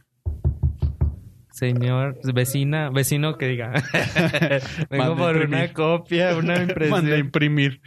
Señor, vecina, vecino que diga.
Mande
Vengo por
imprimir.
una copia, una
Mandé a
impresión.
imprimir.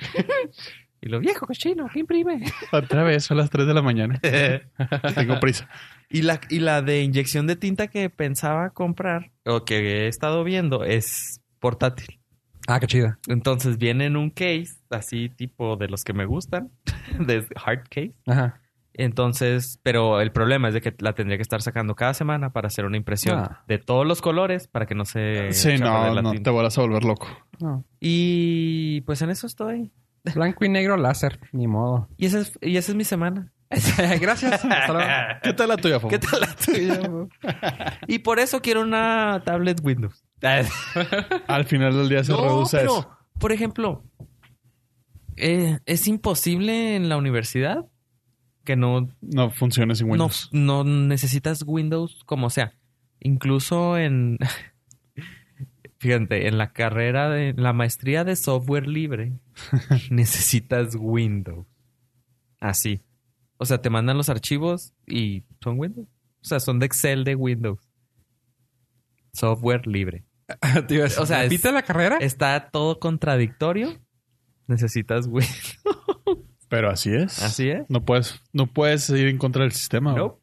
Y lo viejo cochino, ¿qué imprime?
Otra vez, son las 3 de la mañana. Tengo prisa.
Y la, y la de inyección de tinta que pensaba comprar o que he estado viendo es portátil.
Ah, qué chida.
Entonces viene en un case, así tipo de los que me gustan, de hard case.
Ajá.
Entonces, pero el problema es de que la tendría que estar sacando cada semana para hacer una impresión
Ah.
de todos los colores para que no se
sí,
eche a perder
no,
la
no,
tinta.
te volverás a volver loco.
No.
Y pues en eso estoy.
Blanco y negro láser, ni modo.
Y esa es, y esa es mi semana.
Gracias. Hasta luego.
¿Qué tal la tuya, Fofo?
¿Qué tal la tuya? y por eso quiero una tablet Windows.
Al final del día se reduce a eso.
por ejemplo, eh, es imposible en la universidad que no
No funciona sin
No,
Windows.
No, necesitas Windows como sea. Incluso en. Fíjate, en la carrera de. en la maestría de software libre, necesitas Windows. Así. O sea, te mandan los archivos y son Windows. O sea, son de Excel de Windows. Software libre.
Te iba a decir,
O sea, es-
¿repite la carrera?
Está todo contradictorio. Necesitas Windows.
Pero así es.
Así es.
No puedes, no puedes ir en contra del sistema. güey.
Nope.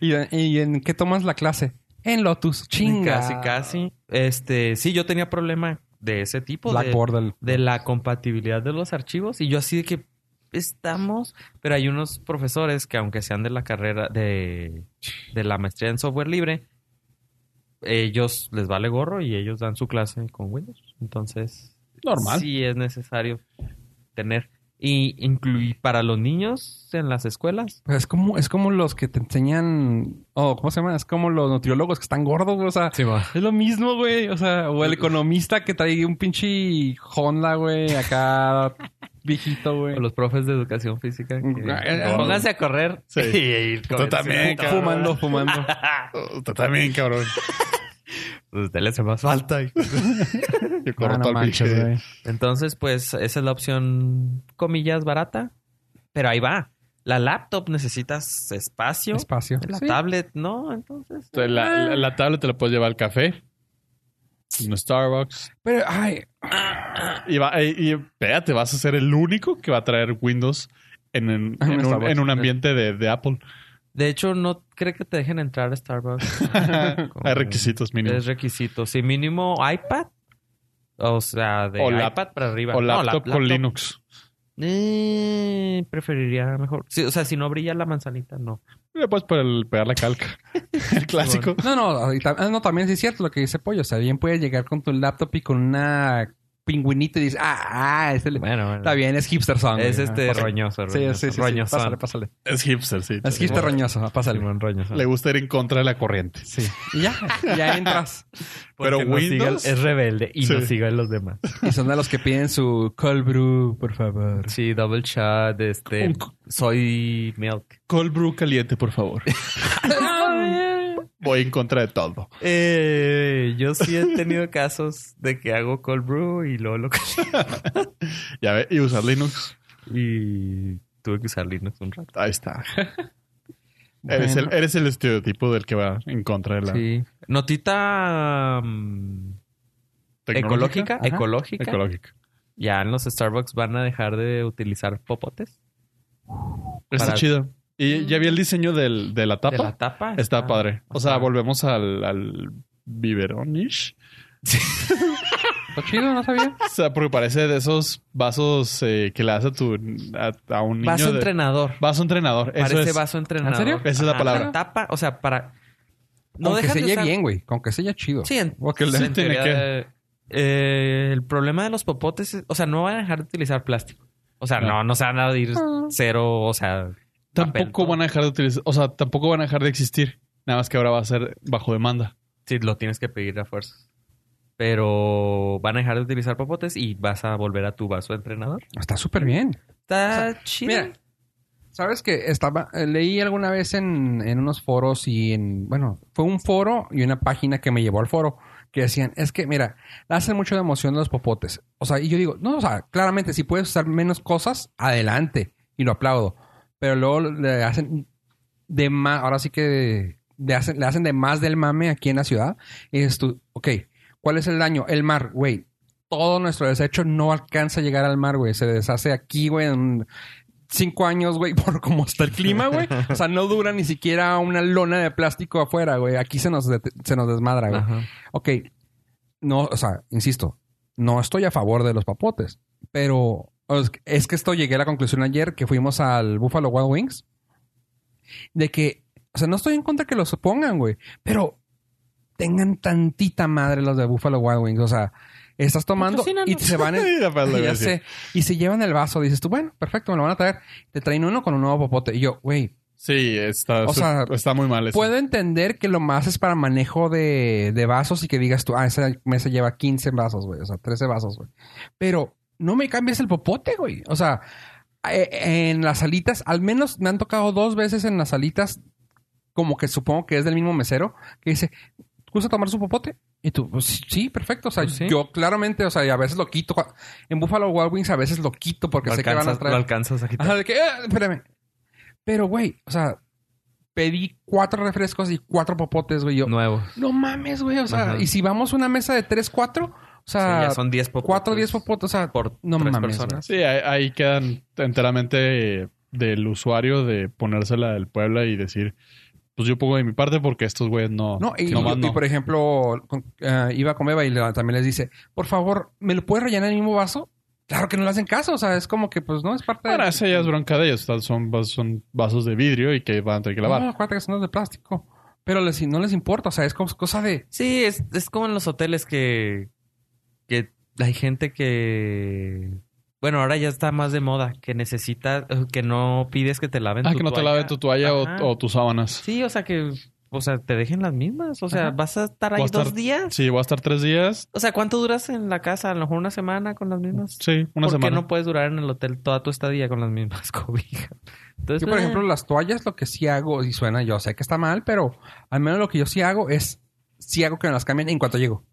¿Y, y en qué tomas la clase? En Lotus. Chinga.
Casi, casi. Este, sí, yo tenía problema de ese tipo. Pues de-
Blackboard. del-
de la compatibilidad de los archivos y yo así de que estamos, pero hay unos profesores que aunque sean de la carrera de, de la maestría en software libre, ellos les vale gorro y ellos dan su clase con Windows. Entonces,
Normal.
sí es necesario tener y incluir para los niños en las escuelas.
Pues es como, es como los que te enseñan, oh, ¿cómo se llama? Es como los nutriólogos que están gordos, güey. O sea, es lo mismo, güey. O sea, o el economista que trae un pinche Honda, güey, acá viejito, güey.
O los profes de educación física. que-
Ah,
Pónganse a correr.
Sí.
y ir
Tú también,
corriendo.
Fumando, fumando.
Oh, tú también, cabrón.
Usted le hace más falta.
Yo corro
Ah, no
todo el
manches,
pinche-
güey.
Entonces, pues esa es la opción, comillas, barata. Pero ahí va. La laptop necesitas espacio.
Espacio.
La
Sí.
tablet, no. Entonces,
Te La, la, la tablet te la puedes llevar al café. En Starbucks.
Pero, ay,
eh, Y, va, y, y espérate, vas a ser el único que va a traer Windows en, en-
En
en un,
Starbucks.
en un ambiente de, de Apple.
De hecho, no creo que te dejen entrar a Starbucks. Como-
Hay requisitos mínimos.
Es requisito. Si mínimo iPad. O sea, de
O lap-
iPad para arriba.
O
No,
laptop,
lap-
con Linux.
Eh, preferiría mejor. Sí, o sea, si no brilla la manzanita, no.
Le puedes por el- pegar la calca. el clásico.
No, no, ahorita- ah, no, también sí es cierto lo que dice Pollo. O sea, bien puedes llegar con tu laptop y con una pingüinita y dices, ah, ah, este le-
Bueno, bueno.
está bien, es hipster song.
Es
güey.
este
Ah, pásale.
roñoso.
Sí,
roñoso,
sí, sí, sí.
roñosón.
Pásale, pásale.
Es hipster, sí.
Es hipster roñoso, ah, pásale.
Simón roñosón.
Le gusta ir en contra de la corriente.
Sí. Y ya, ya entras.
Porque
Pero
no
Windows-
sigue- es rebelde y
Sí.
no sigue a los demás.
Y son de los que piden su cold brew, por favor.
Sí, double shot, este.
Un c-
Soy milk.
Cold brew caliente, por favor. Voy en contra de todo.
Eh, yo sí he tenido casos de que hago cold brew y luego lo
Ya ve, y usar Linux.
Y tuve que usar Linux un rato.
Ahí está. Eres,
Bueno.
el, eres el estereotipo del que va en contra de la
Sí. Notita mm, ecológica,
tecnológica.
Ajá.
ecológica.
Ecológica.
Ya en los Starbucks van a dejar de utilizar popotes.
Está
Para-
chido. Y ya vi el diseño del- de la tapa.
De la tapa.
Está padre. O sea,
Ajá.
volvemos al, al biberonish.
Está chido, no sabía.
O sea, porque parece de esos vasos eh, que le das a, tu, a, a un niño.
Vaso
de-
entrenador.
Vaso entrenador. Eso
Parece
es.
vaso entrenador.
serio?
Esa es la
Ajá,
palabra.
La tapa, o sea, para.
con que
dejan
se
de
oye
usar-
bien, güey. Con que se oye chido.
Sí, en-
Porque
Sí,
le-
en
tiene
teoría, eh, el problema de los popotes es, o sea, no van a dejar de utilizar plástico. O sea,
No.
no, no se van a ir
Ah.
cero, o sea,
Tampoco
papel, ¿no?
van a dejar de utilizar. O sea, tampoco van a dejar de existir. Nada más que ahora va a ser bajo demanda.
sí, lo tienes que pedir a fuerzas. Pero van a dejar de utilizar popotes y vas a volver a tu vaso de entrenador.
Está súper bien.
Está chido.
Mira, sabes que estaba, eh, leí alguna vez en, en unos foros y en, bueno, fue un foro y una página que me llevó al foro que decían, es que mira, hacen mucho de emoción los popotes. O sea, y yo digo, no, o sea, claramente si puedes usar menos cosas, adelante. Y lo aplaudo. Pero luego le hacen de más, ahora sí que le hacen, le hacen de más del mame aquí en la ciudad. Y dices tú, ok, ¿cuál es el daño? El mar, güey. Todo nuestro desecho no alcanza a llegar al mar, güey. Se deshace aquí, güey, en cinco años, güey, por cómo está el clima, güey. O sea, no dura ni siquiera una lona de plástico afuera, güey. Aquí se nos, det- se nos desmadra, güey.
Ajá.
Ok, no, o sea, insisto, no estoy a favor de los papotes, pero es que- es que esto llegué a la conclusión ayer que fuimos al Buffalo Wild Wings, de que, o sea, no estoy en contra que los pongan, güey, pero tengan tantita madre los de Buffalo Wild Wings, o sea, estás tomando y se van en-
Mira, pues, lo
ya
voy a decir.
sé, y se llevan el vaso, dices tú, bueno, perfecto, me lo van a traer, te traen uno con un nuevo popote, y yo, güey,
Sí, está,
O sea,
está muy mal eso.
Puedo entender que lo más es para manejo de, de vasos y que digas tú, ah, esa mesa lleva 15 vasos, güey. O sea, 13 vasos, güey. Pero no me cambies el popote, güey. O sea, eh, en las alitas, al menos me han tocado dos veces en las alitas, como que supongo que es del mismo mesero, que dice, ¿gusta tomar su popote? Y tú, pues sí, perfecto. O sea,
Pues sí.
yo claramente, o sea, y a veces lo quito. Cua- En Buffalo Wild Wings a veces lo quito porque
Lo
sé que van a
alcanzas-
traer.
lo alcanzas a quitar.
Ajá, de que, "Ah, espérame. Pero, güey, o sea, pedí cuatro refrescos y cuatro popotes, güey. Yo, no,
Nuevo.
mames, güey. O sea,
Ajá.
y si vamos a una mesa de tres, cuatro, o
Sí,
sea,
ya son 10 popotes.
Ah, cuatro, diez popotes, o sea,
por
no
tres
mames.
personas.
Sí, ahí, ahí quedan enteramente eh, del usuario de ponérsela del Puebla y decir, pues yo pongo de mi parte porque estos güeyes no.
güey. No, y,
nomás
y-
no.
y, por ejemplo, con- eh, iba con Eva y le- también les dice, por favor, ¿me lo puedes rellenar en el mismo vaso? Claro que no le hacen caso, o sea, es como que, pues, no, es parte
Bueno,
de...
esa ya es bronca de ellos. tal- Son, vas- son vasos de vidrio y que van a tener que
No,
lavar.
acuérdate que son los de plástico. Pero les- no les importa, o sea, es cos- cosa de...
Sí, es, es como en los hoteles que, que hay gente que... Bueno, ahora ya está más de moda, que necesita, eh, que no pides que te laven
ah,
tu
que no te
toalla.
laven tu toalla
Ajá.
o, o tus sábanas.
Sí, o sea que, o sea, te dejen las mismas. O sea,
Ajá.
vas a estar ahí
Voy a
dos
estar-
días.
Sí, voy a estar tres días.
O sea, ¿cuánto duras en la casa? A lo mejor una semana con las mismas.
Sí, una
¿Por qué
semana.
no puedes durar en el hotel toda tu estadía con las mismas cobijas? Entonces,
Yo, por
eh,
ejemplo, las toallas, lo que sí hago, y suena, yo sé que está mal, pero al menos lo que yo sí hago es, sí hago que me las cambien en cuanto llego.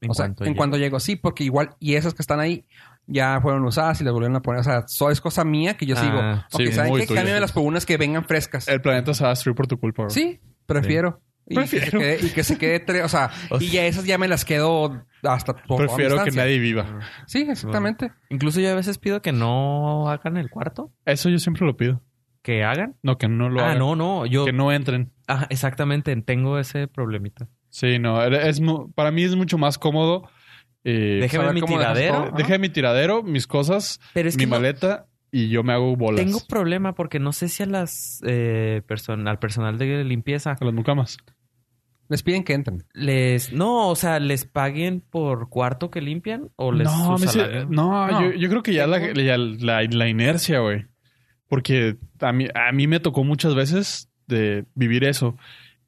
en
o sea,
cuanto
en
llegue.
cuanto llego, sí, porque igual, y esas que están ahí ya fueron usadas y las volvieron a poner. O sea, eso es cosa mía que yo
Ah,
sigo.
sí,
ok, ¿saben
muy
qué?
tuyo.
Cámbiame las por unas que vengan frescas.
El planeta se va a destruir por tu culpa, bro.
Sí, prefiero. Y que, se
Prefiero.
quede, y que se quede tre- o sea,
O
y ya esas ya me las quedo hasta por toda
Prefiero que
distancia.
nadie viva.
Sí, exactamente.
Incluso yo a veces pido que no hagan el cuarto,
Eso yo siempre lo pido.
que hagan.
No, que no lo
ah,
hagan.
no, no, yo
Que no entren.
Ajá, exactamente, tengo ese problemita.
Sí, no. era- Es, mu- para mí es mucho más cómodo. eh,
Déjame
saber
mi
cómo dejas
tiradero.
todo.
Ajá.
Dejé mi tiradero, mis cosas,
Pero es
mi
que no-
maleta y yo me hago bolas.
tengo problema porque no sé si a las eh, person- al personal de limpieza
A las mucamas.
Les piden que entren.
les no, o sea, les paguen por cuarto que limpian o les
no,
su
me dice-
salario.
eh, no,
No.
Yo, yo creo que ya, la, ya la- la inercia, güey. Porque a mí, a mí me tocó muchas veces de vivir eso.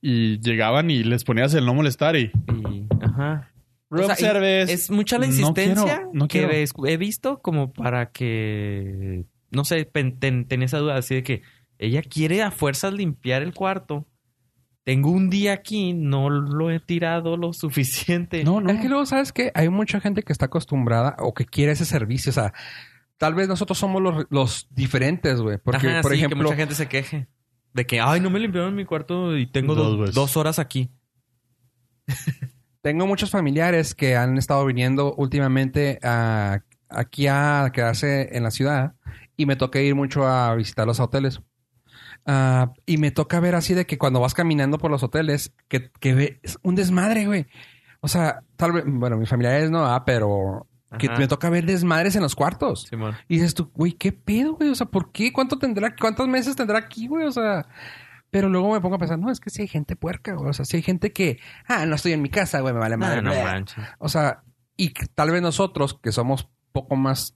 Y llegaban y les ponías el no molestar y...
Y- ajá.
Room
O sea, y-
service.
Es mucha la
No
insistencia
quiero, no quiero.
que es- he visto como para que no sé, pen- ten- tenía esa duda así de que ella quiere a fuerzas limpiar el cuarto. Tengo un día aquí, no lo he tirado lo suficiente.
No, no.
Es que luego, ¿sabes que Hay mucha gente que está acostumbrada o que quiere ese servicio. O sea, tal vez nosotros somos los, los diferentes, güey. Porque,
Ajá,
por
sí, que
ejemplo,
mucha gente se queje de que, ay, no me limpiaron mi cuarto y tengo
Dos
dos,
veces.
dos horas aquí.
tengo muchos familiares que han estado viniendo últimamente a, aquí a quedarse en la ciudad y me toca ir mucho a visitar los hoteles. Ah, y me toca ver así de que cuando vas caminando por los hoteles, que, que ves un desmadre, güey. O sea, tal vez, bueno, mis familiares no, ah, pero que
Ajá.
me toca ver desmadres en los cuartos.
Simón.
Y dices tú, güey, ¿qué pedo, güey? O sea, ¿por qué? ¿Cuánto tendrá? ¿Cuántos meses tendrá aquí, güey? O sea, pero luego me pongo a pensar, no, es que si hay gente puerca, güey. O sea, si hay gente que, ah, no estoy en mi casa, güey, me vale
Ah,
madre.
no
Bleh.
manches.
o sea, y que tal vez nosotros, que somos poco más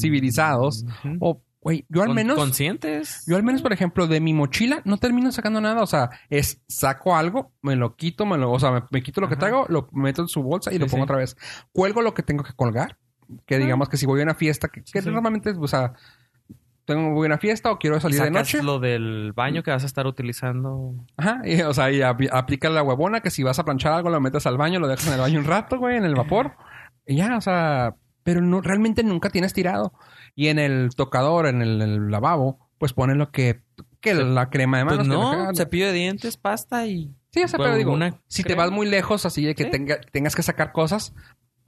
civilizados,
Ujú.
o, güey, yo al
Mm. Con-
menos...
Conscientes.
Yo al menos, por ejemplo, de mi mochila no termino sacando nada. O sea, es saco algo, me lo quito, me lo, o sea, me, me quito lo que
Ajá.
traigo, lo meto en su bolsa y
Sí,
lo
sí.
pongo otra vez. Cuelgo lo que tengo que colgar. Que digamos que si voy a una fiesta, que, que
sí.
normalmente, o sea, tengo voy a una fiesta o quiero salir de
Sacas
noche.
lo del baño que vas a estar utilizando.
Ajá. Y, o sea, y apl- aplica la huevona que si vas a planchar algo, lo metes al baño, lo dejas en el baño un rato, güey, en el vapor. Y ya, o sea, pero no, realmente nunca tienes tirado. Y en el tocador, en el, el lavabo, pues pones lo que, que la crema de manos.
Pues
que
no,
la crema-
cepillo de dientes, pasta y...
Sí, o sea,
Bueno,
pero digo,
una
si te
crema.
vas muy lejos, así de que
Sí.
tenga- tengas que sacar cosas,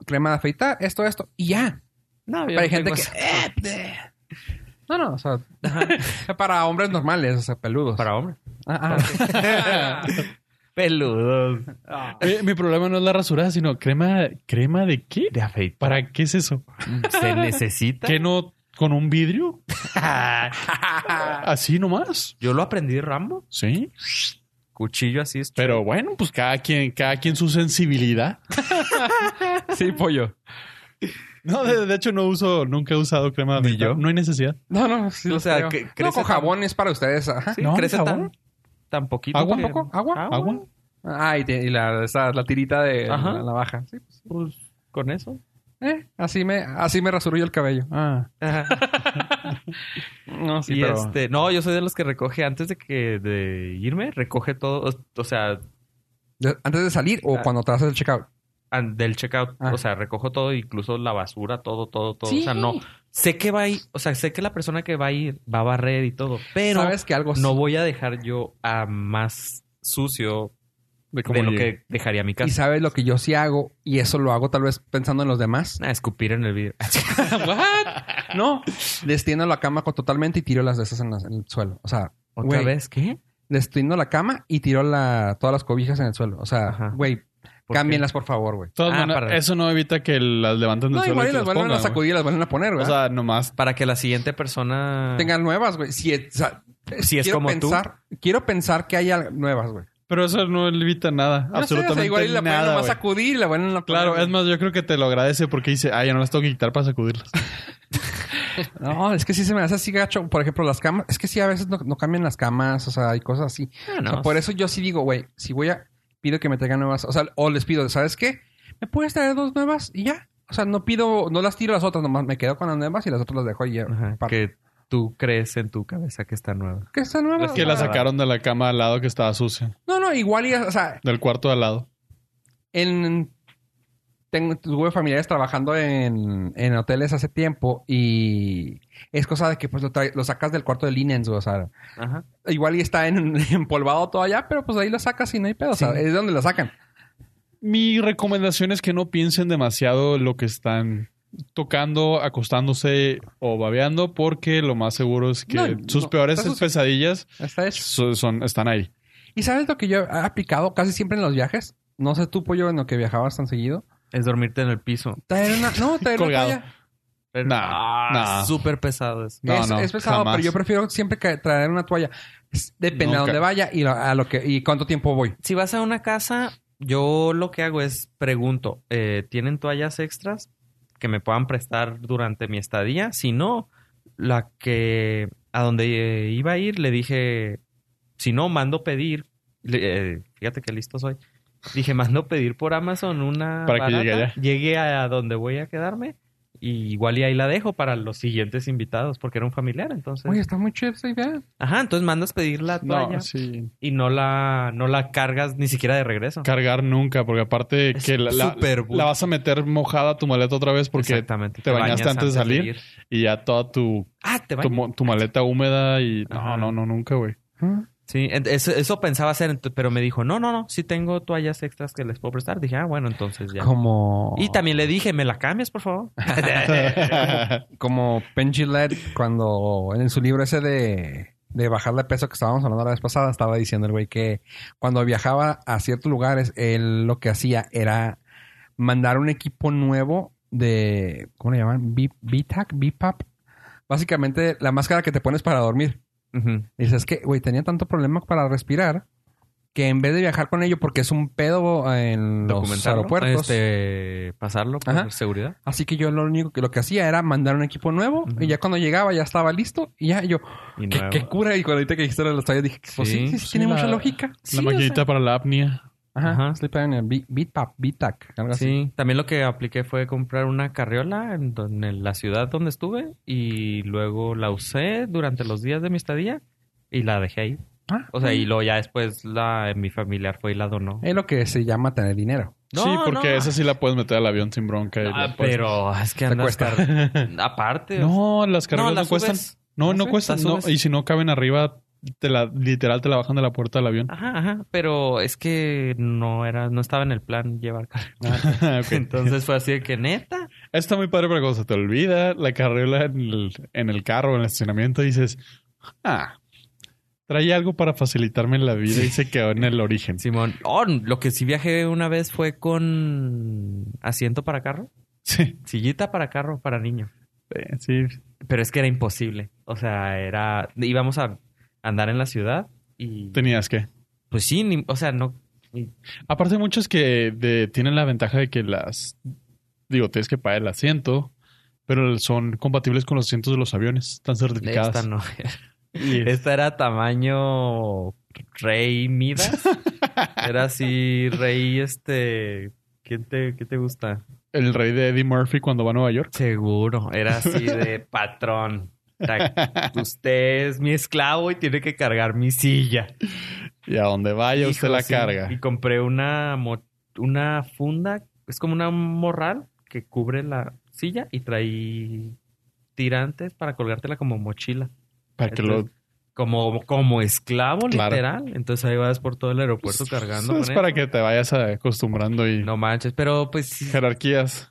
crema de afeitar, esto, esto, y ya.
No,
Pero hay gente que. eh, bleh. no, no, o sea, para hombres normales, o sea, peludos.
Para hombres.
Ah, ah.
Peludos.
Oye, mi problema no es la rasurada, sino crema... ¿Crema de qué?
De afeitar.
¿Para qué es eso?
¿Se necesita?
¿Qué no? ¿Con un vidrio? ¿Así nomás?
Yo lo aprendí de Rambo.
Sí.
Cuchillo así es.
Pero bueno, pues cada quien, cada quien su sensibilidad.
sí, pollo.
No, de, de hecho no uso, nunca he usado crema de
Ni yo.
No hay necesidad.
No, no, sí.
O
los
sea,
creo.
que
no,
crece tan-
con jabón es para ustedes. ajá.
Sí,
No,
crece tan,
jabón.
tan poquito.
¿Agua?
que-
¿Tampoco? ¿Agua?
¿Agua?
Ah, y, te- y la, esa- la tirita de
Ajá.
la navaja. Sí, pues,
Pues con eso.
eh, así me, así me rasuro yo el cabello.
Ah.
No,
y
pero-
este, no, yo soy de los que recoge antes de que de irme, recoge todo, o, o sea,
De- Antes de salir o
Ah.
cuando te haces el checkout.
an- del checkout,
Ah.
o sea, recojo todo, incluso la basura, todo, todo, todo,
Sí.
o sea, no sé que va a ir, o sea, sé que la persona que va a ir va a barrer y todo, pero
Sabes que algo
no voy a dejar yo a más sucio
De, cómo
de lo
llegué.
que dejaría mi
Y
casa.
sabes lo que yo sí hago, y eso lo hago tal vez pensando en los demás.
Ah, escupir en el vidrio.
no, destiendo la cama co- totalmente y tiro las de esas en, las- en el suelo. O sea,
¿Otra
Güey.
vez qué?
destiendo la cama y tiro la, todas las cobijas en el suelo. O sea,
Ajá.
güey,
¿Por
cámbienlas por favor, güey.
De todas
Ah,
maneras,
para-
eso no evita que las levanten del
No,
suelo
igual
y
y
que
las vuelven a
pongan, güey.
sacudir y las vuelven a poner,
O
¿verdad?
sea, nomás.
Para que la siguiente persona
tengan nuevas, güey. Si, es- o sea,
Ah. Si es
quiero
como tú.
pensar, Quiero pensar que haya nuevas, güey.
Pero eso no evita nada.
No sé, o sea,
absolutamente
igual y la ponen
nada.
nomás
güey.
a sacudir y la vuelven a poner,
Claro,
güey.
es más, yo creo que te lo agradece porque dice, ah, ya no las tengo que quitar para sacudirlas.
No, es que sí se me hace así gacho. Por ejemplo, las camas. Es que sí, a veces no, no cambian las camas. O sea, hay cosas así.
Ah,
O
no.
sea, por eso yo sí digo, güey, si voy a... Pido que me traigan nuevas... O sea, o les pido, ¿sabes qué? ¿Me puedes traer dos nuevas? Y ya. O sea, no pido... No las tiro las otras. Nomás me quedo con las nuevas y las otras las dejo y ya.
Ajá,
Para-
que tú crees en tu cabeza que está nueva.
¿Qué están nuevas?
Las
que
Ah,
la sacaron de la cama al lado que estaba sucia.
No, no. Igual y... O sea,
Del cuarto de al lado.
en... tengo, tuve familiares trabajando en, en hoteles hace tiempo y es cosa de que pues lo, trae- lo sacas del cuarto de linens, güey, o sea,
Ajá.
igual y está en, empolvado todo allá, pero pues ahí lo sacas y no hay pedo, o sea, es donde lo sacan.
Mi recomendación es que no piensen demasiado lo que están tocando, acostándose o babeando, porque lo más seguro es que
No,
sus
no,
peores
está sus-
pesadillas
Está hecho.
so- son, están ahí.
¿Y sabes lo que yo he aplicado casi siempre en los viajes? No sé tú, pollo, en lo que viajabas tan seguido.
Es dormirte en el piso.
Traer una... No, traer una
Colgado.
toalla.
Pero-
Nah,
Ah,
nah.
Súper pesado eso.
No,
es,
no,
es pesado,
jamás.
pero yo prefiero siempre que- traer una toalla. Es- Depende
Nunca.
a dónde vaya y, lo- a lo que, y cuánto tiempo voy.
Si vas a una casa, yo lo que hago es pregunto, eh, ¿tienen toallas extras que me puedan prestar durante mi estadía? Si no, la que a donde eh, iba a ir le dije, si no, mando pedir. Le- eh, fíjate que listo soy. Dije, mando pedir por Amazon una
Para que llegue
barata,
allá.
llegue a donde voy a quedarme y igual y ahí la dejo para los siguientes invitados porque era un familiar, entonces.
Oye, está muy chida esa idea.
Ajá, entonces mandas pedir la toalla
No, sí.
y no la, no la cargas ni siquiera de regreso.
Cargar nunca, porque aparte
Es
que la, la-
súper bulto.
la vas a meter mojada tu maleta otra vez porque
Exactamente.
te bañaste
bañas
antes de salir.
ir.
y ya toda tu,
Ah, te
tu,
bañas.
mo- tu maleta húmeda y... No,
Ajá.
no, no, nunca, güey.
Sí, en- eso, eso pensaba hacer, ent- pero me dijo, no, no, no, sí tengo toallas extras que les puedo prestar. Dije, ah, bueno, entonces ya.
Como...
Y también le dije, ¿me la cambias, por favor? Eh,
como Ben Gillette cuando en su libro ese de, de bajar de peso que estábamos hablando la vez pasada, estaba diciendo el güey que cuando viajaba a ciertos lugares, él lo que hacía era mandar un equipo nuevo de, ¿cómo le llaman? B- BTAC, BPAP. Básicamente la máscara que te pones para dormir.
Ujú.
Dices, es que, güey, tenía tanto problema para respirar que en vez de viajar con ello, porque es un pedo en los
Documentarlo,
aeropuertos,
Este, pasarlo por
Ajá.
seguridad.
Así que yo lo único que lo que hacía era mandar un equipo nuevo
Ujú.
y ya cuando llegaba ya estaba listo y ya yo,
Y
¿qué,
nuevo.
qué cura? Y cuando ahorita que dijiste lo de los tallos dije, pues sí,
Sí,
sí, sí,
sí,
tiene
la-
mucha lógica. Sí,
la
o
maquinita para la apnea.
sea, ajá,
Ajá.
Sleep apnea, Be- beat pap, beat tac, algo así.
Sí, también lo que apliqué fue comprar una carriola en, don- en la ciudad donde estuve y luego la usé durante los días de mi estadía y la dejé ahí.
Ah,
O sea, y luego ya después la mi familiar fue y la donó.
Es lo que se llama tener dinero.
No,
sí, porque
no.
esa sí la puedes meter al avión sin bronca. y
Ah,
la puedes-
pero es que
Te
andas
cuesta.
car- aparte. o
pues, No, las
sea,
carreras no,
las
cuestan.
subes.
No,
Las
no
subes,
cuestan.
las
no.
subes.
y si no caben arriba, te la, literal te la bajan de la puerta del avión.
Ajá, ajá, pero es que no era no estaba en el plan llevar carriola.
Ah, Ok.
Entonces fue así de que neta.
Está muy padre, pero cuando se te olvida la carriola en el, en el carro, en el estacionamiento, dices, ah, trae algo para facilitarme la vida y se quedó en el origen.
Simón, oh, lo que sí viajé una vez fue con asiento para carro.
Sí,
sillita para carro para niño.
eh, sí.
Pero es que era imposible. O sea, era. íbamos a andar en la ciudad y.
Tenías que.
Pues sí, ni- o sea, no.
Aparte, hay muchos que de- tienen la ventaja de que las. Digo, tienes que pagar el asiento, pero son compatibles con los asientos de los aviones. Están certificadas.
Esta no.
Y-
Esta Este era tamaño Rey Midas. Era así, Rey, este. ¿Quién te, ¿Qué te gusta?
el rey de Eddie Murphy cuando va a Nueva York.
Seguro, era así de patrón. Ta- Usted es mi esclavo y tiene que cargar mi silla.
Y a donde vaya usted
Hijo,
la
sí.
carga.
Y compré una, mo- una funda, es como una morral que cubre la silla y trae tirantes para colgártela como mochila.
Para que
Entonces, Como, como esclavo,
Claro.
literal. Entonces ahí vas por todo el aeropuerto
lo.
cargando.
Es
con
para
eso.
que te vayas acostumbrando y
No manches, pero pues sí,
jerarquías,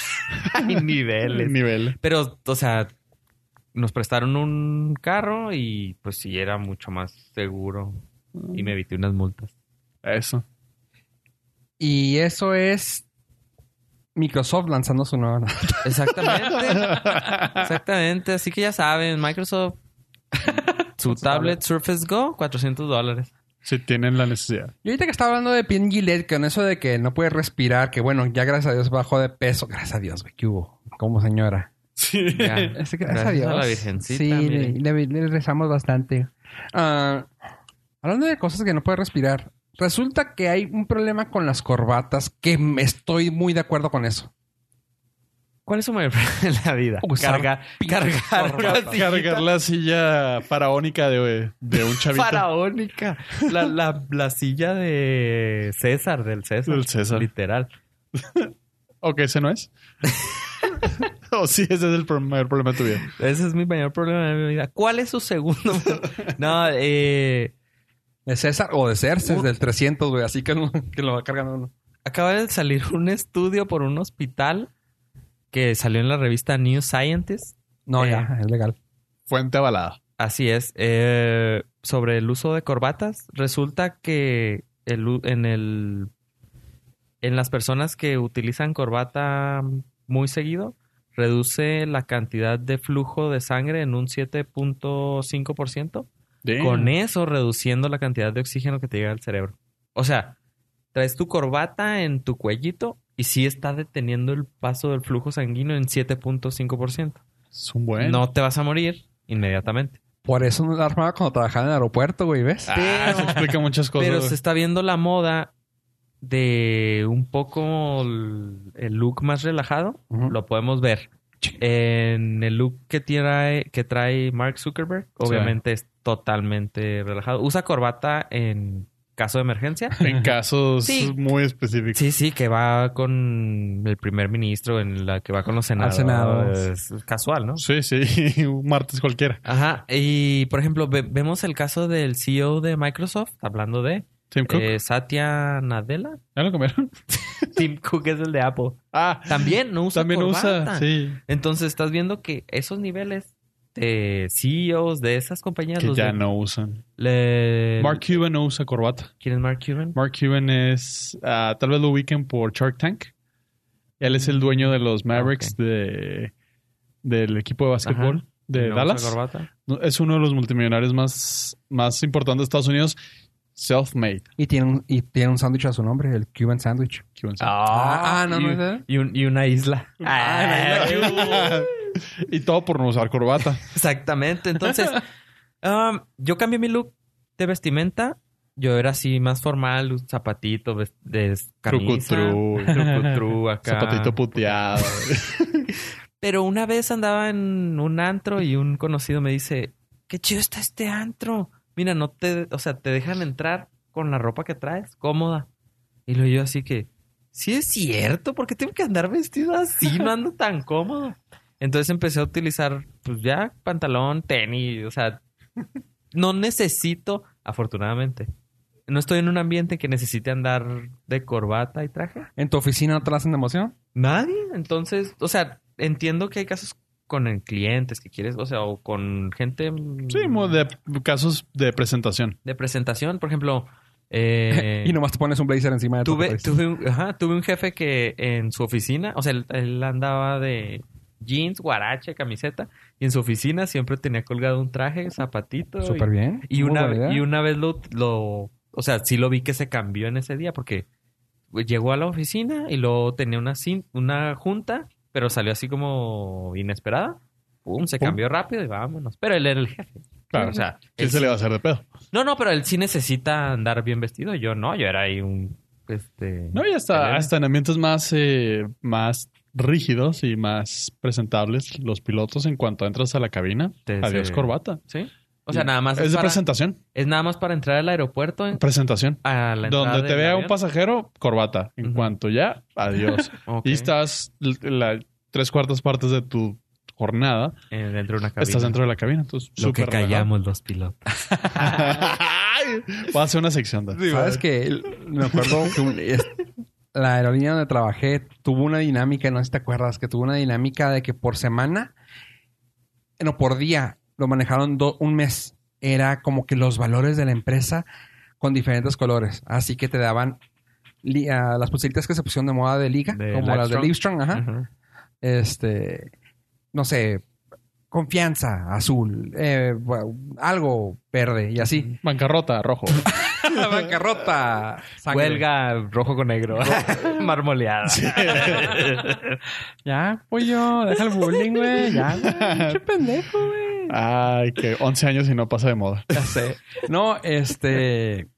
hay niveles.
nivel.
Pero, o sea, nos prestaron un carro y pues sí era mucho más seguro. Y me evité unas multas.
Eso.
Y eso es Microsoft lanzando su nueva.
Exactamente. Exactamente, así que ya saben, Microsoft, su tablet Surface Go, 400 dólares.
si tienen la necesidad.
Y ahorita que estaba hablando de Ben Gillette, E con eso de que no puede respirar, que bueno, ya gracias a Dios bajó de peso. Gracias a Dios, güey, ¿qué hubo? Como señora.
Sí.
Ya.
Así que
Gracias
gracias,
a
a Dios.
la Virgencita,
Sí, le,
miren.
le- le rezamos bastante. Ah, hablando de cosas que no puede respirar, resulta que hay un problema con las corbatas que me estoy muy de acuerdo con eso.
¿Cuál es su mayor problema en la vida?
Usar
Carga, cargar
corbata.
una sillita
Cargar la silla faraónica de, de un chavito.
faraónica. La, la- la silla de César, del César.
Del César.
Literal.
Ok, ese no es. o sí, ese es el primer problema de tu vida.
Ese es mi mayor problema de mi vida. ¿Cuál es su segundo? no, eh,
De César o de Cerces del 300, güey. Así que, no- que lo va cargando uno.
acaba de salir un estudio por un hospital que salió en la revista New Scientist.
No,
Eh.
ya, es legal.
Fuente avalada.
Así es. eh, sobre el uso de corbatas, resulta que el u- en el en las personas que utilizan corbata muy seguido reduce la cantidad de flujo de sangre en un 7.5%, con eso reduciendo la cantidad de oxígeno que te llega al cerebro. O sea, traes tu corbata en tu cuellito y sí está deteniendo el paso del flujo sanguíneo en 7.5%.
Es un buen.
No te vas a morir inmediatamente.
Por eso no la armaba cuando trabajaba en el aeropuerto, güey, ¿ves?
Ah, eso explica muchas cosas.
Pero
güey.
se está viendo la moda de un poco el el look más relajado.
Ujú.
Lo podemos ver. En el look que trae, que trae Mark Zuckerberg, obviamente es totalmente relajado. Usa corbata en caso de emergencia.
En casos
Sí.
muy específicos.
Sí, sí, que va con el primer ministro, en la que va con los senadores.
Senado.
Es casual, ¿no?
Sí, sí, un martes cualquiera.
Ajá. Y, por ejemplo, ve- vemos el caso del CEO de Microsoft, hablando de
Tim Cook.
eh, Satya Nadella.
¿Ya lo comieron?
Tim Cook es el de Apple.
Ah,
También no usa
también
corbata.
usa. Sí.
Entonces estás viendo que esos niveles de CEOs de esas compañías
Que
los
ya
de-
no usan.
le-
Mark Cuban no usa corbata.
¿Quién es Mark Cuban?
Mark Cuban es. ah, tal vez lo ubiquen por Shark Tank. Él es
Mm.
el dueño de
Ah,
los Mavericks de, del equipo de básquetbol
Ajá.
de
No usa
Dallas.
corbata.
No, Es uno de los multimillonarios más, más importantes de Estados Unidos. Self-made.
Y tiene un, y tiene un sándwich a su nombre, el Cuban Sandwich.
Cuban
Ah, ah, no,
y,
no es de-
y, un- y una isla. Ah,
y todo por no usar corbata.
Exactamente. Entonces, um, yo cambié mi look de vestimenta. Yo era así más formal, un zapatito, ves- de camisa.
Trucutru.
trucutru acá.
Zapatito puteado.
Pero una vez andaba en un antro y un conocido me dice, qué chido está este antro. Mira, no te, o sea, te dejan entrar con la ropa que traes, cómoda. Y lo yo así que, sí es cierto, porque tengo que andar vestido así, no ando tan cómodo. Entonces empecé a utilizar, pues ya, pantalón, tenis, o sea, no necesito, afortunadamente. No estoy en un ambiente que necesite andar de corbata y traje.
¿En tu oficina no te la hacen de emoción?
Nadie. Entonces, o sea, entiendo que hay casos con el clientes que quieres, o sea, o con gente mm,
Sí, mo- de casos de presentación.
de presentación, por ejemplo. eh,
y nomás te pones un blazer encima de tu
tuve,
cabeza.
tuve, un, ajá, tuve un jefe que en su oficina, o sea, él, él andaba de jeans, guarache, camiseta, y en su oficina siempre tenía colgado un traje, zapatito. y-
Súper bien.
y
Muy
una,
buena idea.
y una vez lo, lo- O sea, sí lo vi que se cambió en ese día porque llegó a la oficina y luego tenía una, cin- una junta, pero salió así como inesperada. Pum, se
Pum.
cambió rápido y vámonos. Pero él era el jefe.
Claro.
O sea,
¿Qué
él
se
sí-
le va a hacer de pedo?
No, no, pero él sí necesita andar bien vestido. Yo no, yo era ahí un. Este...
No, y hasta,
Pelea.
hasta en ambientes más, eh, más rígidos y más presentables, los pilotos, en cuanto entras a la cabina,
Te-
adiós
se-
corbata.
¿Sí? O sea, nada más.
Es
Es,
de
para-
presentación.
es nada más para entrar al aeropuerto. en-
Presentación.
a la entrada
Donde te
del
vea un
avión.
pasajero, corbata. En
Ujú.
cuanto ya, adiós.
Ok.
Y estás l- la tres cuartas partes de tu jornada,
Eh, dentro de una cabina.
estás dentro de la cabina. Entonces,
Lo que
súper relajado.
callamos los pilotos.
Va a ser una sección. Dan.
Sabes que me acuerdo que un- es- la aerolínea donde trabajé tuvo una dinámica, no sé si te acuerdas, que tuvo una dinámica de que por semana, no por día, lo manejaron do- un mes. Era como que los valores de la empresa con diferentes colores. Así que te daban li- ah, las pulseritas que se pusieron de moda de liga,
De
como las de Livestrong, ajá.
Ajá.
Este, no sé, confianza, azul, eh, bueno, algo verde y así.
Bancarrota, rojo.
bancarrota, sangre.
Huelga rojo con negro. Marmoleada.
Ya, pollo, deja el bullying, güey. Ya, güey. Qué pendejo, güey.
Ay, que 11 años y no pasa de moda.
Ya sé. No, este.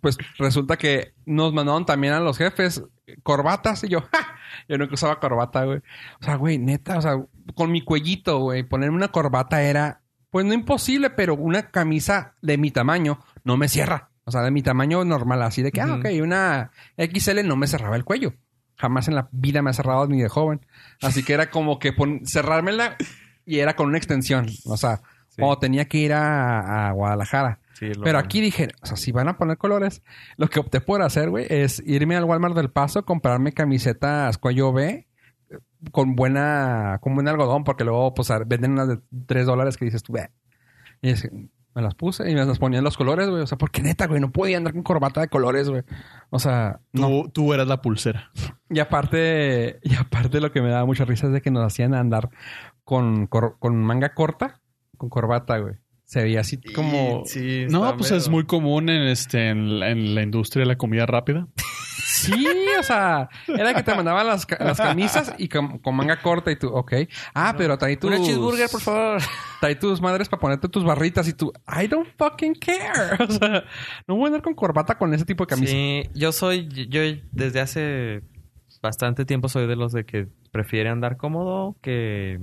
Pues resulta que nos mandaron también a los jefes corbatas y yo, ¡ja! Yo nunca usaba corbata, güey. O sea, güey, neta, o sea, con mi cuellito, güey, ponerme una corbata era, pues no imposible, pero una camisa de mi tamaño no me cierra. O sea, de mi tamaño normal, así de que, ah,
Ujú.
ok, una XL no me cerraba el cuello. Jamás en la vida me ha cerrado ni de joven. Así que era como que pon- cerrármela y era con una extensión. O sea, cuando tenía que ir a, a Guadalajara.
Sí, es lo
Oh, Pero
bueno.
aquí dije, o sea, si van a poner colores, lo que opté por hacer, güey, es irme al Walmart del Paso, comprarme camisetas cuello B eh, con buena, con buen algodón, porque luego, pues, a- venden unas de 3 dólares que dices tú, ve. Y es- me las puse y me las ponía en los colores, güey. O sea, porque neta, güey, no podía andar con corbata de colores, güey. O sea,
Tú,
no.
tú eras la pulsera.
Y aparte, y aparte lo que me daba mucha risa es de que nos hacían andar con, cor- con manga corta, con corbata, güey. Se veía así como...
Sí,
No,
está
pues
mero.
es muy común en, este, en, la, en la industria de la comida rápida.
Sí, o sea, era que te mandaban las, ca- las camisas y con, con manga corta y tú, ok. Ah, pero trae tus...
Una cheeseburger, por favor.
Trae tus madres para ponerte tus barritas y tú, I don't fucking care. O sea, no voy a andar con corbata con ese tipo de camisa.
Sí, yo soy, yo desde hace bastante tiempo soy de los de que prefiere andar cómodo que,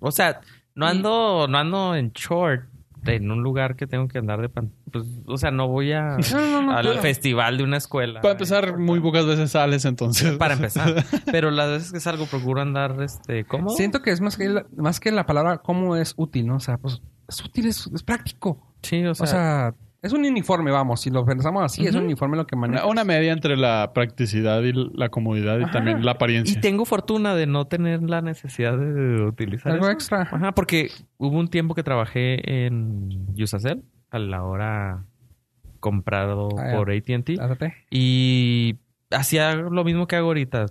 o sea, no ando, no ando en short en un lugar que tengo que andar de pan, pues, o sea, no voy a
No, no, no,
al
claro.
festival de una escuela.
Para empezar, muy pocas veces sales entonces.
Para empezar, pero las veces que salgo procuro andar, este, cómodo.
Siento que es más que, la, más que la palabra cómo es útil, ¿no? O sea, pues es útil, es, es práctico.
Sí, o
O sea,
sea,
es un uniforme, vamos. Si lo pensamos así, es un uniforme lo que
Una,
maneja.
una media entre la practicidad y la comodidad y
Ajá.
también la
y
apariencia.
tengo fortuna de no tener la necesidad de utilizar
Algo
eso.
extra.
Ajá, porque hubo un tiempo que trabajé en Yusacel a la hora comprado
Ah, ya.
por AT&T
Ándate.
y hacía lo mismo que hago ahorita,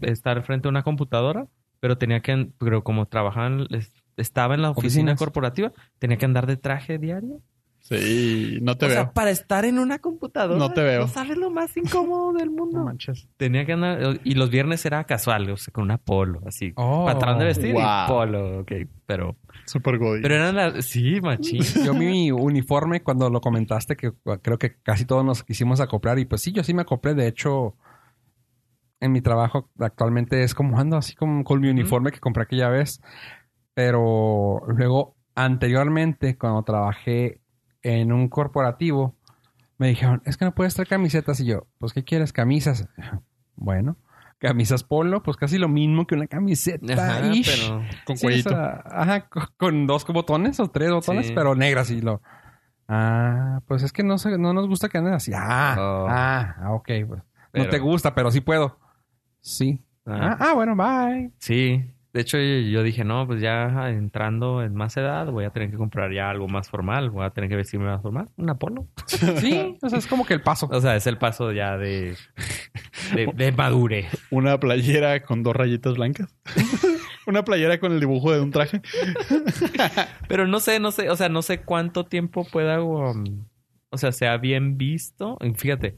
estar frente a una computadora, pero tenía que, pero como trabajaban, estaba en la oficina
Oficinas.
corporativa, tenía que andar de traje diario.
Sí, no te
o
veo.
sea, para estar en una computadora,
No te veo.
sabes lo más incómodo del
No
mundo.
manches.
tenía que andar, y los viernes era casual, o sea, con una polo, así,
Oh.
patrón de vestir
Wow.
y polo, ok, pero...
Súper godín.
Pero eran las... Sí, machín.
Yo mi uniforme cuando lo comentaste, que creo que casi todos nos quisimos acoplar. Y pues sí, yo sí me acoplé. De hecho, en mi trabajo actualmente es como ando así como con mi uniforme que compré aquella vez. Pero luego, anteriormente, cuando trabajé en un corporativo, me dijeron, es que no puedes traer camisetas. Y yo, pues, ¿qué quieres? Camisas. Bueno, camisas polo, pues casi lo mismo que una camiseta.
Ajá,
ish.
pero...
Con
Sí,
cuellito.
o sea, ajá, co- con dos botones o tres botones,
Sí.
pero negras y lo. Ah, pues es que no se- no nos gusta que anden así. Ah,
Oh.
ah, ah, ok. pues.
Pero-
No te gusta, pero sí puedo. Sí. Ah,
Ah,
ah, bueno, bye.
sí. De hecho, yo, yo dije, no, pues ya entrando en más edad voy a tener que comprar ya algo más formal. Voy a tener que vestirme más formal. Un Apolo.
Sí, o sea, es como que el paso.
O sea, es el paso ya de... De, de madure.
Una playera con dos rayitas blancas. Una playera con el dibujo de un traje.
Pero no sé, no sé. O sea, no sé cuánto tiempo pueda... um, o sea, sea bien visto. Y Fíjate.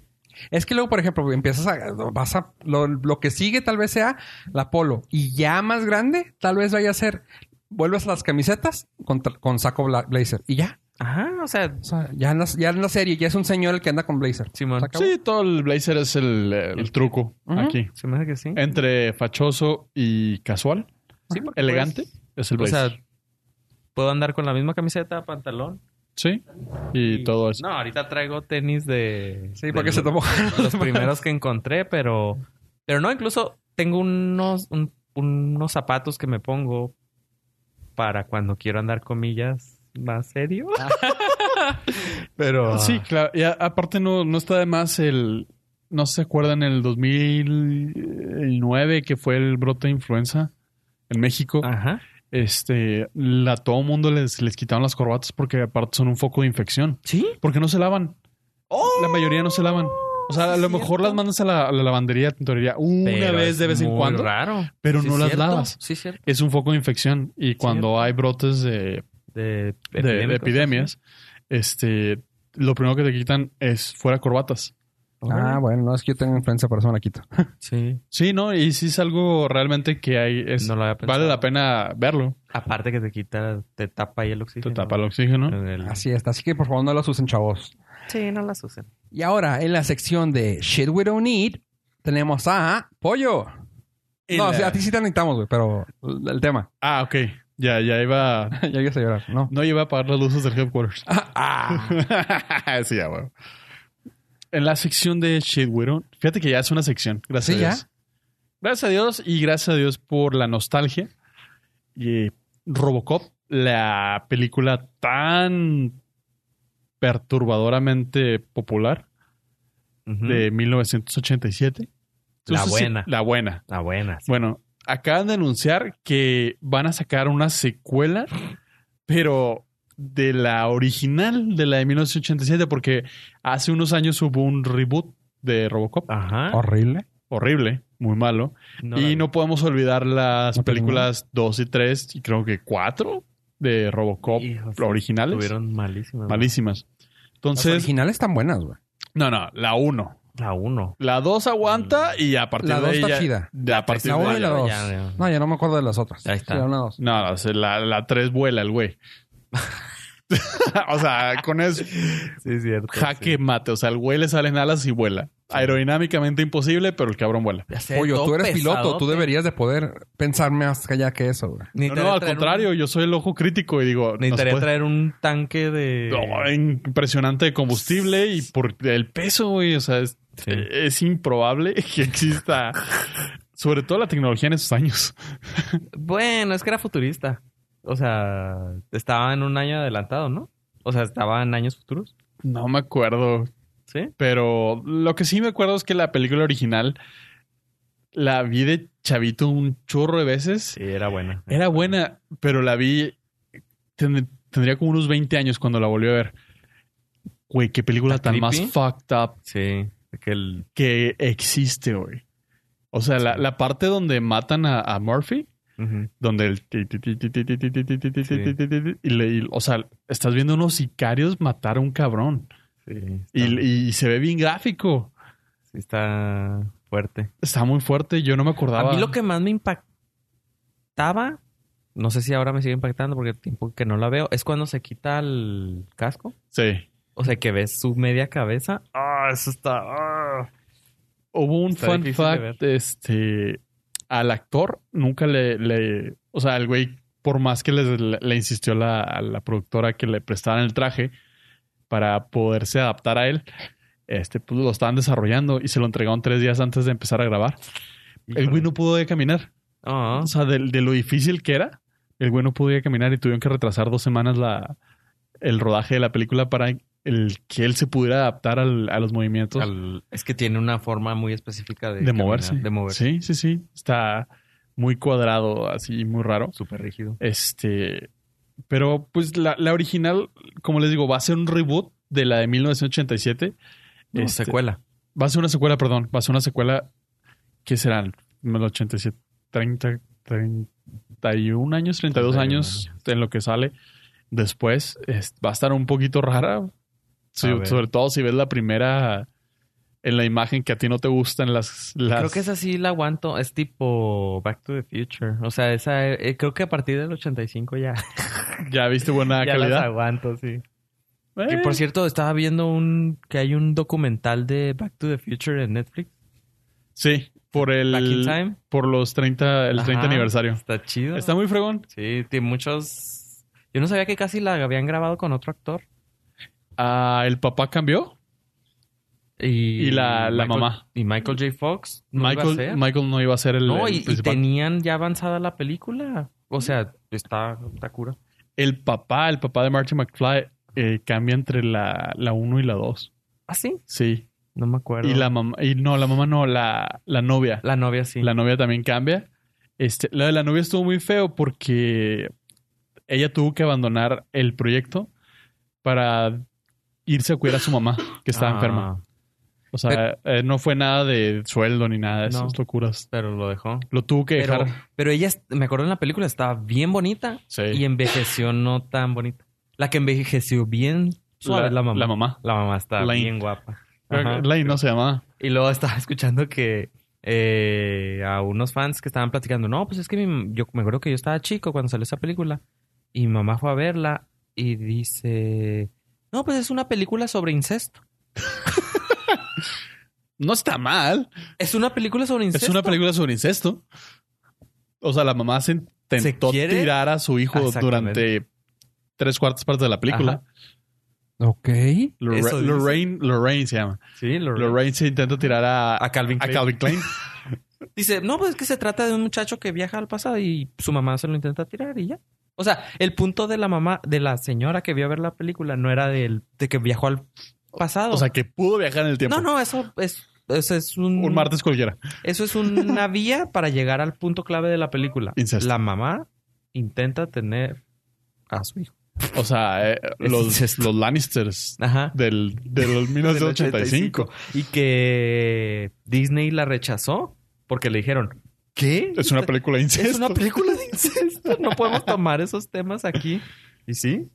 Es que luego, por ejemplo, empiezas a. Vas a lo, lo que sigue tal vez sea la polo. Y ya más grande, tal vez vaya a ser. Vuelves a las camisetas con, tra- con saco bla- blazer. Y ya.
Ajá, o sea...
O sea, ya en, la, ya en la serie, ya es un señor el que anda con blazer.
Simón.
Se acabó.
Sí, todo el blazer es el, el truco
Ujú.
aquí.
Se me hace que sí.
Entre fachoso y casual,
Sí, porque pues,
elegante,
Pues,
es el
puedes-
blazer.
o sea, puedo andar con la misma camiseta, pantalón,
sí, y, todo eso.
No, ahorita traigo tenis de.
Sí, porque
de
se tomó.
Los primeros que encontré, pero. Pero no, incluso tengo unos, un- unos zapatos que me pongo para cuando quiero andar comillas más serio. pero.
Ah. Sí, claro. Y a- aparte no, no está de más el... ¿No se acuerdan el 2009 que fue el brote de influenza en México?
Ajá.
Este, la, todo mundo les, les quitaron las corbatas porque aparte son un foco de infección.
Sí.
Porque no se lavan. La mayoría no se lavan. O sea, a
¡Oh! Sí,
lo
es
mejor las
cierto.
mandas a la, a la lavandería, tintorería, una
Pero
vez
es
de vez en
muy
cuando,
raro.
pero
Sí,
no las
cierto.
lavas.
Sí, cierto.
Es un foco de infección y cuando hay brotes de,
De,
de- de
epidémicos.
epidemias, este, lo primero que te quitan es fuera corbatas.
Ah, bueno, no es que yo tengo influenza, por eso me la quito.
Sí.
Sí, no, y sí es algo realmente que hay, es-
no lo había pensado.
vale la pena verlo.
Aparte que te quita, te tapa ahí el
Te
oxígeno.
tapa el oxígeno.
El-
Así está. Así que por favor no los usen, chavos.
Sí, no las usen.
Y ahora en la sección de Shit We Don't Need tenemos a Pollo. No, o sea, a ti sí te necesitamos, güey, pero el el tema.
Ah, ok. Ya, ya iba.
ya ibas a llorar, ¿no?
No iba a apagar las luces del headquarters.
Ah,
sí, ya, huevo. En la sección de Shit We Don't- Fíjate que ya es una sección. Gracias.
¿Sí,
a Dios. Gracias a Dios y gracias a Dios por la nostalgia. Y eh, Robocop, la película tan perturbadoramente popular
Ujú.
de 1987.
La
Entonces, sí,
buena.
La buena.
La buena. sí.
Bueno, acaban de anunciar que van a sacar una secuela, pero de la original, de la de 1987, porque hace unos años hubo un reboot de Robocop.
Ajá.
Horrible.
Horrible, muy malo.
la
y
vi.
no podemos olvidar las
No tengo
películas 2 y 3, y creo que 4 de Robocop
Hijo, sí,
originales.
Estuvieron malísimas.
Malísimas.
Las
Entonces,
originales están buenas, güey.
no, no, la 1.
La uno.
La 2 aguanta
Mm.
y a partir
La
de
dos
ahí
está
ya-
chida.
de- a partir
La
de
uno
ahí
y
ya-
la dos.
ya, ya.
No, ya no me acuerdo de las otras.
Ahí está.
Sí, una, dos.
No, no, o sea, la, la 3 vuela el güey. o sea, con eso,
Sí, es cierto.
jaque mate. O sea, al güey le salen alas y vuela. Aerodinámicamente imposible, pero el cabrón vuela.
Pollo, tú eres piloto, tú deberías de poder pensar más allá que eso, güey.
No, no, al contrario, yo soy el ojo crítico y digo... no se
Necesitaría
puede.
traer eh, un tanque de.
No, impresionante de combustible y por el peso, güey. O sea, es,
Sí.
es improbable que exista... Sobre todo la tecnología en esos años.
Bueno, es que era futurista. O sea, estaba en un año adelantado, ¿no? O sea, estaba en años futuros.
No me acuerdo.
¿Sí?
Pero lo que sí me acuerdo es que la película original la vi de chavito un chorro de veces.
Sí, era buena.
Era buena, pero la vi. ten- tendría como unos 20 años cuando la volví a ver. Güey, qué película
¿Está
tan
creepy?
más fucked up
Sí. Que el...
que existe, güey. O sea, la, la parte donde matan a, a Murphy,
Ujú.
donde el. ti, ti, ti, ti, ti, ti, ti, ti, ti, ti, ti, ti, ti, ti, ti, Y le- y- o sea, estás viendo unos sicarios matar a un cabrón.
Sí,
Y,
está-
y se ve bien gráfico.
sí está fuerte.
Está muy fuerte, yo no me acordaba.
A mí lo que más me impactaba, no sé si ahora me sigue impactando porque tiempo que no la veo, es cuando se quita el casco.
Sí.
O sea, que ves su media cabeza. Ah, eso está. ah.
Hubo un
Está
fun
difícil de
fact, este... Al actor nunca le... le- o sea, el güey, por más que les- le, le insistió la, a la productora que le prestaran el traje para poderse adaptar a él, este, pues lo estaban desarrollando y se lo entregaron tres días antes de empezar a grabar. El güey no pudo caminar.
Ah,
O sea, de, de lo difícil que era, el güey no podía caminar y tuvieron que retrasar dos semanas la, el rodaje de la película para el que él se pudiera adaptar al- a los movimientos.
al- es que tiene una forma muy específica de,
de,
caminar,
moverse.
De moverse.
Sí, sí, sí. Está muy cuadrado, así, muy raro.
Súper rígido.
Este. Pero, pues, la, la original, como les digo, va a ser un reboot de la de 1987.
No,
Este,
Secuela.
Va a ser una secuela, perdón. Va a ser una secuela. ¿Qué serán? El 87, 30, 31 años, 32
31
años en lo que sale. Después es- va a estar un poquito rara. Sí,
A ver.
sobre todo si ves la primera en la imagen que a ti no te gustan las. las
Creo que esa sí la aguanto. Es tipo Back to the Future. O sea, esa eh, creo que a partir del 85 ya,
Ya viste buena
ya las
calidad.
aguanto, sí.
Eh,
Que por cierto, estaba viendo un que hay un documental de Back to the Future en Netflix.
sí, por el.
Back in Time.
Por los 30, el 30
Ajá,
aniversario.
Está chido.
Está muy fregón.
Sí, tiene muchos. Yo no sabía que casi la habían grabado con otro actor.
Ah, el papá cambió.
Y,
Y la- la
Michael-
mamá.
Y Michael J. Fox. no iba a
Michael,
ser.
Michael no iba a ser el.
no,
el
y, y
principal.
tenían ya avanzada la película. O sea, está, está cura.
el papá, el papá de Marty McFly, eh, cambia entre la, la 1 y la 2.
¿Ah, sí?
Sí.
No me acuerdo.
Y la mamá, y no, la mamá no, la, la novia.
La novia, sí.
La novia también cambia. Este, la de la novia estuvo muy feo porque ella tuvo que abandonar el proyecto para irse a cuidar a su mamá, que estaba
Ah,
enferma. O sea, eh, no fue nada de sueldo ni nada de
No.
esas locuras.
Pero lo dejó.
Lo tuvo que
Pero,
dejar.
pero ella, me acuerdo en la película, estaba bien bonita.
Sí.
y envejeció no tan bonita. La que envejeció bien suave es la, mamá.
La
La mamá,
mamá.
está
Lane.
bien guapa. Ajá.
Lane no se llamaba.
Y luego estaba escuchando que eh, a unos fans que estaban platicando, no, pues es que mi- yo me acuerdo que yo estaba chico cuando salió esa película y mi mamá fue a verla y dice, no, pues es una película sobre incesto.
No está mal.
Es una película sobre incesto.
Es una película sobre incesto. O sea, la mamá se intentó
¿Se quiere?
tirar a su hijo
Exactamente.
durante tres cuartas partes de la película.
Ajá.
Ok.
Lora-
Eso dice.
Lorraine, Lorraine se llama.
Sí, lo
Lorraine se intenta tirar a,
A Calvin
a
Klein.
Calvin Klein.
Dice, no, pues es que se trata de un muchacho que viaja al pasado y su mamá se lo intenta tirar y ya. O sea, el punto de la mamá, de la señora que vio a ver la película, no era del, de que viajó al pasado.
O sea, que pudo viajar en el tiempo.
no, no, eso es, eso es un,
Un martes cualquiera.
eso es una vía para llegar al punto clave de la película.
Incesto.
La mamá intenta tener a su hijo.
O sea, eh,
Es
los,
incesto.
los Lannisters
Ajá.
del, del 1985.
Y que Disney la rechazó porque le dijeron, ¿qué?
Es una película de incesto.
Es una película de incesto. No podemos tomar esos temas aquí. ¿Y sí?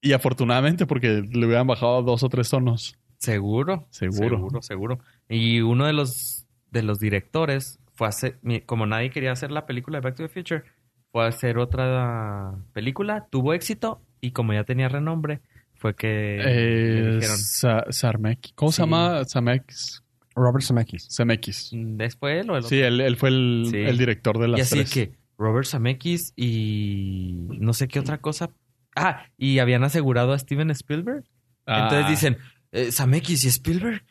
Y afortunadamente, porque le hubieran bajado dos o tres tonos.
Seguro.
Seguro.
Seguro, seguro. Y uno de los, de los directores fue a hacer... mi- Como nadie quería hacer la película de Back to the Future, fue a hacer otra película, tuvo éxito y como ya tenía renombre, fue que le
Eh,
dijeron...
Sa- Sarmeki. ¿Cómo
Sí.
se llama? Samex.
Robert Zemeckis.
Zemeckis.
Después lo del
Sí, él, él fue el,
Sí.
el director de las
y así
tres.
que Robert Zemeckis y no sé qué otra cosa. Ah, y habían asegurado a Steven Spielberg.
Ah,
Entonces dicen, eh, Zemeckis y Spielberg.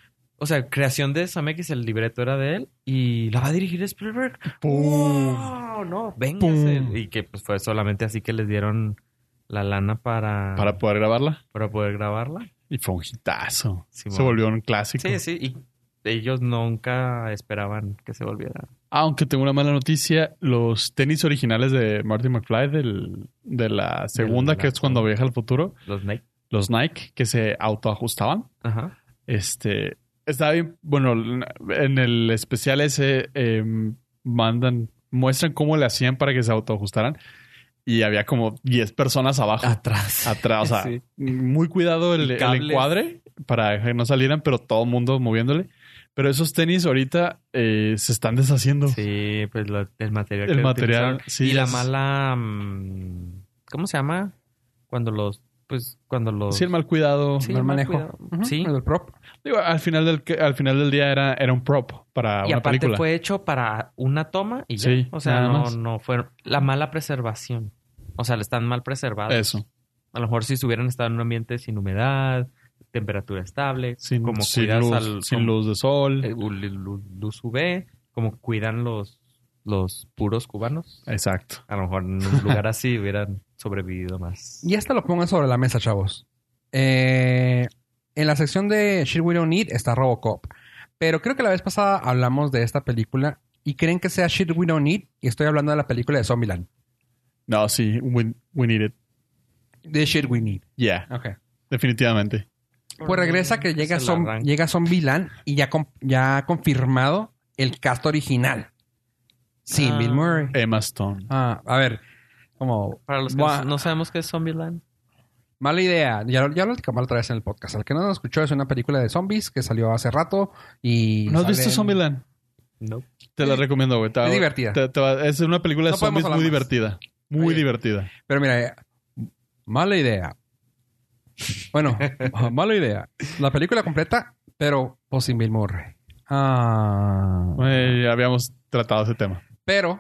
O sea, creación de Zemeckis, el libreto era de él y la va a dirigir Spielberg.
¡pum!
¡Wow! No,
¡Pum!
véngase. Y que pues, fue solamente así que les dieron la lana para,
Para poder grabarla.
para poder grabarla.
Y fue un hitazo.
Sí,
se
bueno.
volvió un clásico.
Sí, sí. Y ellos nunca esperaban que se volviera.
Aunque tengo una mala noticia, los tenis originales de Martin McFly del- de la segunda,
la-
que es cuando viaja al futuro,
Los Nike.
los Nike, que se autoajustaban,
Ajá.
Este, está bien, bueno, en el especial ese eh, mandan, muestran cómo le hacían para que se autoajustaran y había como 10 personas abajo,
Ah, Atrás.
atrás, o sea,
Sí.
muy cuidado el,
Y
el
cables.
encuadre para que no salieran, pero todo el mundo moviéndole. Pero esos tenis ahorita eh, se están deshaciendo.
Sí, pues lo- el material.
El
que
material,
utilizaron.
sí,
Y la
es-
mala. mm, ¿Cómo se llama? Cuando los. Pues cuando los.
Sí, el mal cuidado.
Sí,
Mal
mal
manejo.
cuidado.
Ujú,
Sí.
El prop.
Digo, al final del que- al final del día era, era un prop para
Y
una
aparte
película.
fue hecho para una toma y ya.
Sí,
o sea,
nada
no,
más.
no fue. La mala preservación. O sea, están mal preservadas.
Eso.
A lo mejor si estuvieran estado en un ambiente sin humedad, temperatura estable,
Sin,
como
sin
cuidas
luz,
al-
sin
como-
luz de sol.
eh, lu- lu- luz UV, como cuidan los, los puros cubanos.
Exacto.
A lo mejor en un lugar así hubieran sobrevivido más.
Y hasta lo pongan sobre la mesa, chavos. Eh, en la sección de Shit We Don't Need está Robocop. Pero creo que la vez pasada hablamos de esta película y creen que sea Shit We Don't Need. Y estoy hablando de la película de Zombieland.
No, sí, we, we need it.
De Shit We Need.
Yeah,
Ok.
definitivamente.
Pues regresa que llega,
Se la
Zom-
arranca.
llega Zombieland y ya, com- ya ha confirmado el cast original. Sí,
Ah.
Bill Murray.
Emma Stone.
Ah, a ver, como
Para los que
Buah.
no sabemos qué es Zombieland.
mala idea. Ya, lo- ya lo platicamos la otra vez en el podcast. Al que no nos escuchó es una película de zombies que salió hace rato y...
¿No has
salen-
visto Zombieland?
No.
Te la recomiendo, güey. Te-
Es divertida.
te- te va- es una película de
No podemos
zombies muy
hablar más.
divertida. Muy
Oye.
divertida.
Pero mira, eh, mala idea. Bueno, mala idea. La película completa, pero pues sin Bill Murray. Ah.
Eh, ya habíamos tratado ese tema.
Pero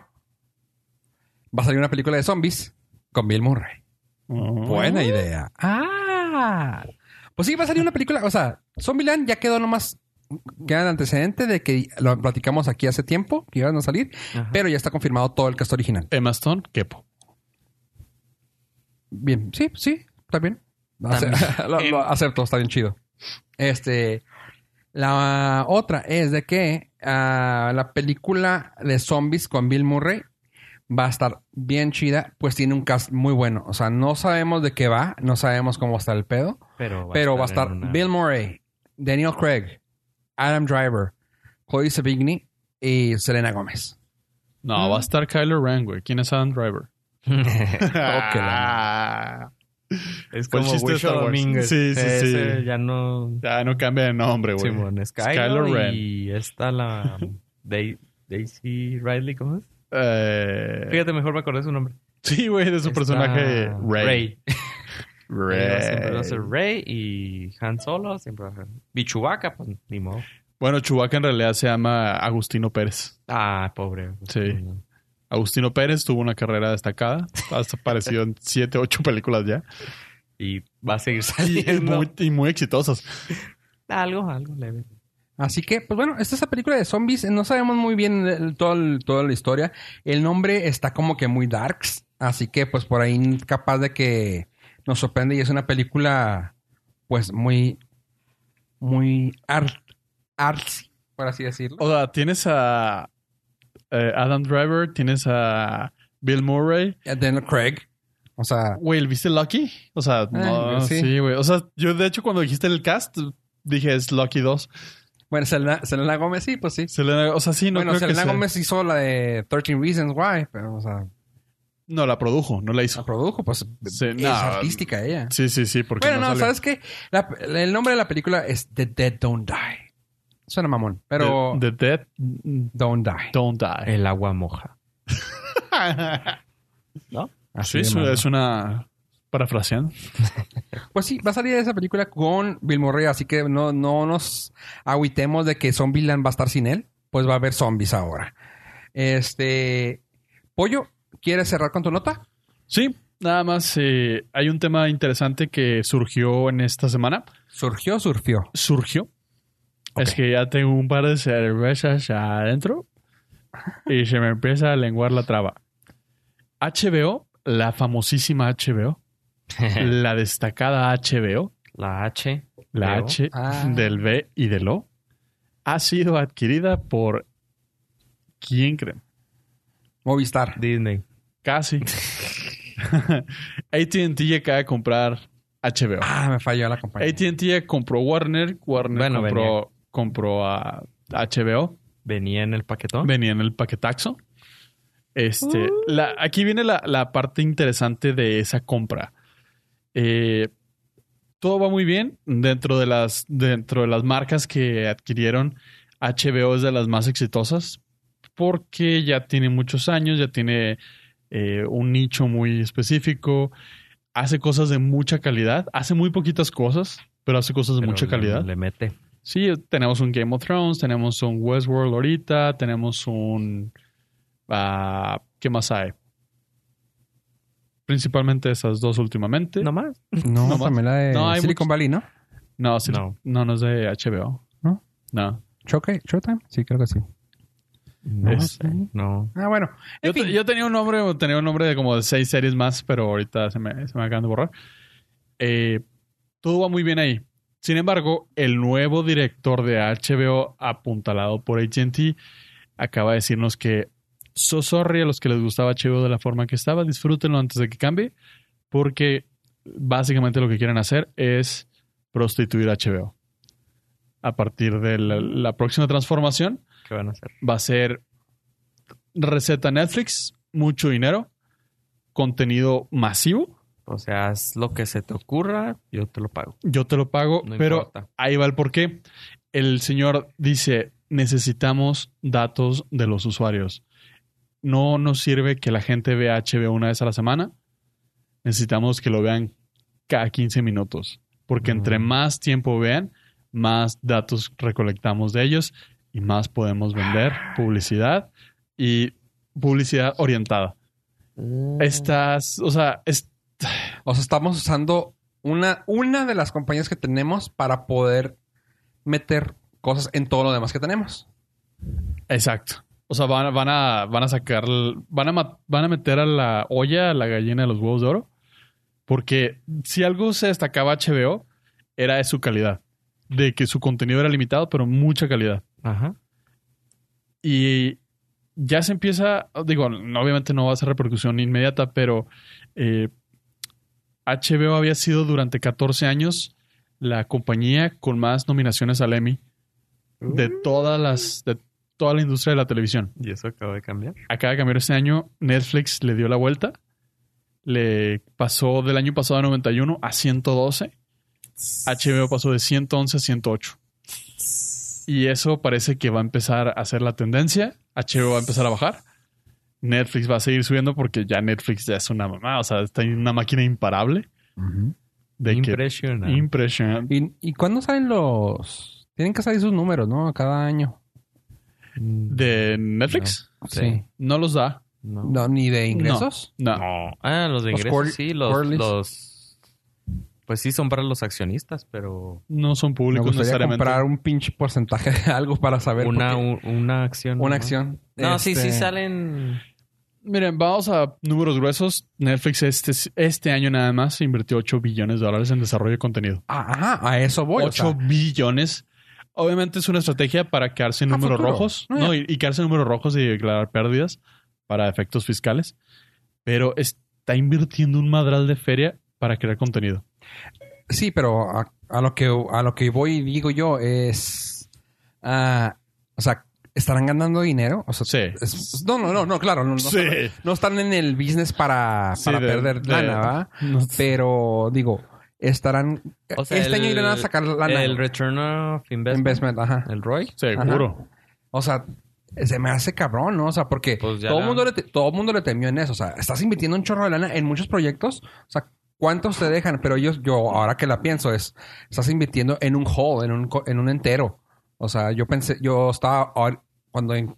va a salir una película de zombies con Bill Murray. Buena idea. Ah. Pues sí, va a salir una película. O sea, Zombieland ya quedó nomás. Queda el antecedente de que lo platicamos aquí hace tiempo, que iban a salir, pero ya está confirmado todo el cast original.
Emma Stone, Kepo.
Bien, sí, sí, está bien. Ace- lo, lo acepto, está bien chido. Este. La otra es de que ah, la película de zombies con Bill Murray va a estar bien chida, pues tiene un cast muy bueno. O sea, no sabemos de qué va, no sabemos cómo está el pedo.
pero va
Pero va a estar
en una-
Bill Murray, Daniel Craig, Adam Driver, Chloe Sevigny y Selena Gómez.
No,
Ah.
va a estar Kylo Ren, güey. ¿Quién es Adam Driver?
Oh, Ah.
la-
es
Fue el
como
chiste de
Wisho
Star Wars.
Domínguez.
Sí, sí,
Ese
sí.
ya no...
Ya no cambia de nombre, güey.
Simón, es
Kylo
Kylo
Ren.
y está la... Dai- Daisy Riley, ¿cómo es?
Eh,
Fíjate, mejor me acordé su nombre.
sí, güey, de su
Está
personaje Rey.
Ray. Siempre va a ser Rey
Rey.
y Han Solo siempre va a ser... Y Chewbacca, pues ni modo.
Bueno, Chewbacca en realidad se llama Agustino Pérez.
Ah, pobre.
Sí. Agustino Pérez tuvo una carrera destacada. Ha aparecido en siete, ocho películas ya.
Y va a seguir
Y, y
saliendo.
muy, y muy exitosas.
Algo, algo leve.
Así que, pues bueno, esta es la película de zombies. No sabemos muy bien el- todo el- toda la historia. El nombre está como que muy darks. Así que, pues por ahí capaz de que nos sorprende. Y es una película, pues muy, muy art, artsy, por así decirlo.
O sea, tienes a eh, Adam Driver, tienes a Bill Murray.
Daniel Craig. O sea,
Güey, ¿viste Lucky? O sea, no,
Ah, güey, sí.
sí, güey. O sea, yo de hecho cuando dijiste el cast, dije es Lucky 2.
bueno, Selena, Selena Gómez sí, pues sí.
Selena- o sea, sí, no
bueno,
creo que
Selena
sea-
Gómez hizo la de 13 Reasons Why, pero, o sea,
No, la produjo, no la hizo.
la produjo, pues
Sí,
es
no.
artística ella.
Sí, sí, sí, porque
Bueno, no,
sale.
¿sabes qué? La- el nombre de la película es The Dead Don't Die. Suena mamón, pero
The, The Dead mm,
Don't Die.
Don't Die.
El agua moja.
Eh, Así
sí,
de
es,
malo.
es una parafraseando.
Pues sí, va a salir esa película con Bill Murray, así que no, no nos agüitemos de que Zombieland va a estar sin él. Pues va a haber zombies ahora. Este. Pollo, ¿quieres cerrar con tu nota?
Sí, nada más eh, hay un tema interesante que surgió en esta semana.
Surgió, surgió.
Surgió. Es que ya tengo un par de cervezas adentro y se me empieza a lenguar la traba. HBO, la famosísima HBO, la destacada HBO,
La H.
la
Veo.
H
Ah.
del B y del O, ha sido adquirida por ¿quién creen?
Movistar.
Disney.
Casi. AT&T ya acaba de comprar HBO.
Ah, me falló la compañía.
AT&T ya compró Warner, Warner
Bueno,
compró, compró a HBO,
Venía en el paquetón.
venía en el paquetaxo. Este, la- aquí viene la, la parte interesante de esa compra. Eh, todo va muy bien dentro de las dentro de las marcas que adquirieron. HBO es de las más exitosas porque ya tiene muchos años, ya tiene eh, un nicho muy específico, hace cosas de mucha calidad, hace muy poquitas cosas, pero hace cosas de
Pero
mucha
le-
calidad.
Le mete.
Sí, tenemos un Game of Thrones, tenemos un Westworld ahorita, tenemos un... ah, ¿Qué más hay? Principalmente esas dos últimamente. No,
Nomás.
No,
No,
también la de
no, hay
Silicon Valley, ¿no?
no, sí- no.
No.
no, es de HBO.
¿No?
No.
Showca- Showtime, sí, creo que sí.
No.
Es-
sé, Este, no.
Ah, bueno. En
Yo, te-
fin.
yo tenía un nombre, tenía un nombre de como de seis series más, pero ahorita se me, se me acaban de borrar. Eh, todo va muy bien ahí. Sin embargo, el nuevo director de HBO, apuntalado por AT&T, acaba de decirnos que so sorry a los que les gustaba HBO de la forma que estaba, disfrútenlo antes de que cambie, porque básicamente lo que quieren hacer es prostituir HBO. A partir de la- la próxima transformación,
¿Qué van a hacer?
va a ser receta Netflix, mucho dinero, contenido masivo,
O sea, haz lo que se te ocurra, yo te lo pago.
yo te lo pago,
No
pero
importa.
ahí va el porqué. El señor dice, necesitamos datos de los usuarios. No nos sirve que la gente vea HBO una vez a la semana. Necesitamos que lo vean cada 15 minutos, porque entre
Mm.
más tiempo vean, más datos recolectamos de ellos y más podemos vender publicidad y publicidad orientada. Estas, o sea, es-
O sea, estamos usando una, una de las compañías que tenemos para poder meter cosas en todo lo demás que tenemos.
exacto. O sea, van, van a, van a sacar, van a, ma- van a meter a la olla a la gallina de los huevos de oro. Porque si algo se destacaba HBO, era de su calidad. De que su contenido era limitado, pero mucha calidad.
Ajá.
Y ya se empieza, digo, no- obviamente no va a ser repercusión inmediata, pero eh, HBO había sido durante 14 años la compañía con más nominaciones al Emmy de todas las, de toda la industria de la televisión.
Y eso acaba de cambiar.
Acaba de cambiar este año, Netflix le dio la vuelta, le pasó del año pasado a 91 a 112, HBO pasó de 111 a 108. Y eso parece que va a empezar a ser la tendencia. HBO va a empezar a bajar. Netflix va a seguir subiendo porque ya Netflix ya es una mamá. O sea, está en una máquina imparable. De que-
Impresionante.
impresionante.
¿Y, y cuándo salen los...? Tienen que salir sus números, ¿no? Cada año.
¿De Netflix?
Sí.
Sí.
No los da.
Mm, No.
No, ni de ingresos.
No.
No. Ah, los de
Los
ingresos,
quarter-
sí, los,
quarterlies.
los Pues sí, son para los accionistas, pero
No son
Me
públicos
gustaría
necesariamente.
comprar un pinche porcentaje de algo para saber.
una,
por qué.
un- una acción.
una
nomás.
acción.
No, sí,
Este,
sí salen.
Miren, vamos a números gruesos. Netflix este, este año nada más invirtió 8 billones de dólares en desarrollo de contenido.
Ah, ajá, a eso voy. o
8
sea,
billones. Obviamente es una estrategia para quedarse en
A
números
futuro.
rojos.
No,
No, y, y quedarse en números rojos y declarar pérdidas para efectos fiscales. Pero está invirtiendo un madral de feria para crear contenido.
sí, pero a, a lo que, a lo que voy y digo yo es. ah, o sea, ¿estarán ganando dinero? O sea,
Sí.
es- no, no, no, no, claro. No, no
Sí.
están- no están en el business para,
Sí,
para
de-
perder
de-
lana, ¿va?
No-
Pero digo, estarán.
O sea,
este
el-
año irán a sacar lana.
El Return of Investment.
investment, ajá.
El ROI.
Seguro.
O sea, se me hace cabrón, ¿no? O sea, porque
Pues ya
todo,
la-
mundo le te- todo mundo le temió en eso. O sea, estás invirtiendo un chorro de lana en muchos proyectos. O sea, ¿cuántos te dejan? Pero yo, yo ahora que la pienso, es... Estás invirtiendo en un whole, en un, co- en un entero. O sea, yo pensé... Yo estaba... ahor- Cuando en-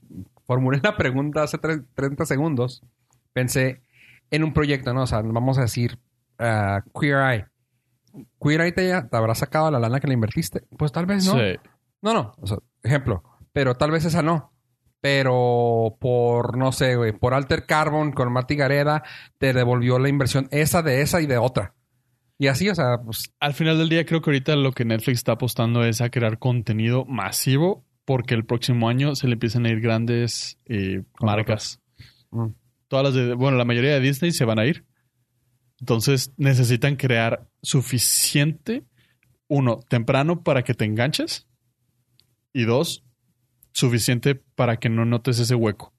formulé la pregunta hace tre- 30 segundos, pensé en un proyecto, ¿no? O sea, vamos a decir ah, Queer Eye. Queer Eye te, te habrá sacado la lana que le invertiste. Pues tal vez no.
Sí.
No, no. O sea, ejemplo. Pero tal vez esa no. Pero por, no sé, güey, por Alter Carbon con Marty Gareda, te devolvió la inversión esa de esa y de otra. Y así, o sea, pues,
Al final del día, creo que ahorita lo que Netflix está apostando es a crear contenido masivo porque el próximo año se le empiezan a ir grandes eh, marcas.
Mm.
Todas las de, bueno, la mayoría de Disney se van a ir. Entonces necesitan crear suficiente, uno, temprano para que te enganches y dos, suficiente para que no notes ese hueco.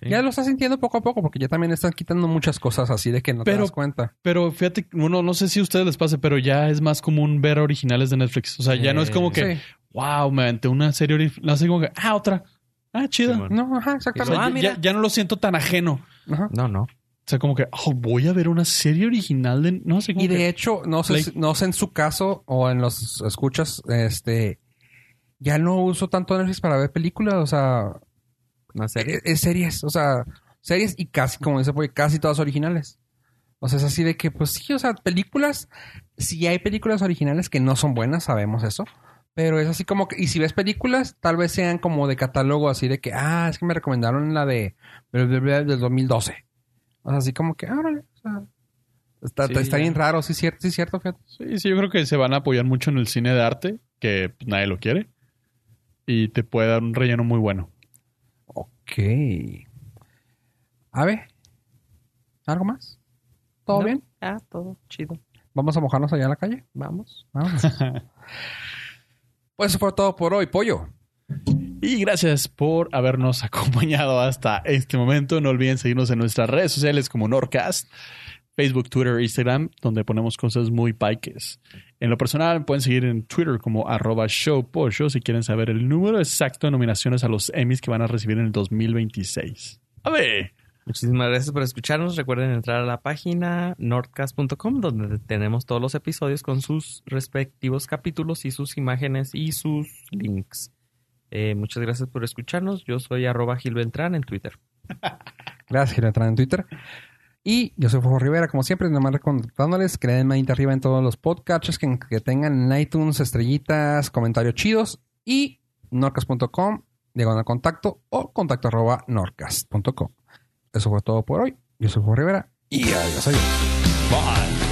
Sí.
ya lo estás sintiendo poco a poco, porque ya también están quitando muchas cosas así de que no te
Pero-
das cuenta.
Pero fíjate, bueno, no sé si a ustedes les pase, pero ya es más común ver originales de Netflix. O sea, ya no es como
Eh,
que...
Sí.
wow, me aventé una serie ori- no sé como que, ah, otra. Ah, chida.
Simón.
No, ajá,
O sea,
exactamente.
Ah,
ya-
mira.
ya, ya no lo siento tan ajeno.
Ajá.
No, no.
O sea, como que, oh, voy a ver una serie original de. No sé como
Y
que-
de hecho, no sé,
Play-
si- no sé en su caso o en los escuchas, este, ya no uso tanto Netflix para ver películas, o sea,
Una serie.
series. Es series, o sea, series y casi, como dice, Pollo, casi todas originales. O sea, es así de que, pues sí, o sea, películas, si hay películas originales que no son buenas, sabemos eso. Pero es así como que, y si ves películas, tal vez sean como de catálogo, así de que, ah, es que me recomendaron la de bla, bla, bla, del 2012. O sea, así como que, ah, órale, o sea, está,
Sí,
está
ya.
bien raro, sí, cierto, sí, cierto, fíjate.
Sí, sí, yo creo que se van a apoyar mucho en el cine de arte, que pues, nadie lo quiere. Y te puede dar un relleno muy bueno.
Ok. A ver, ¿algo más? ¿Todo
No.
bien?
Ah, todo chido.
¿Vamos a mojarnos allá en la calle?
Vamos.
Vamos. pues eso fue todo por hoy, pollo.
Y gracias por habernos acompañado hasta este momento. No olviden seguirnos en nuestras redes sociales como Norcast, Facebook, Twitter, Instagram, donde ponemos cosas muy paiques. En lo personal, pueden seguir en Twitter como arroba showpollo si quieren saber el número exacto de nominaciones a los Emmys que van a recibir en el 2026. A ver.
Muchísimas gracias por escucharnos. Recuerden entrar a la página nordcast.com donde tenemos todos los episodios con sus respectivos capítulos y sus imágenes y sus links. Eh, muchas gracias por escucharnos. Yo soy arroba Gil Beltrán en Twitter.
Gracias, Gil Beltrán en Twitter. Y yo soy Fofo Rivera, como siempre, nomás recordándoles que le den manita arriba en todos los podcasts que, que tengan en iTunes, estrellitas, comentarios chidos y norcas.com, diagonal contacto o contacto arroba norcas.com. Eso fue todo por hoy. Yo soy Fofo Rivera y adiós. adiós.
Bye.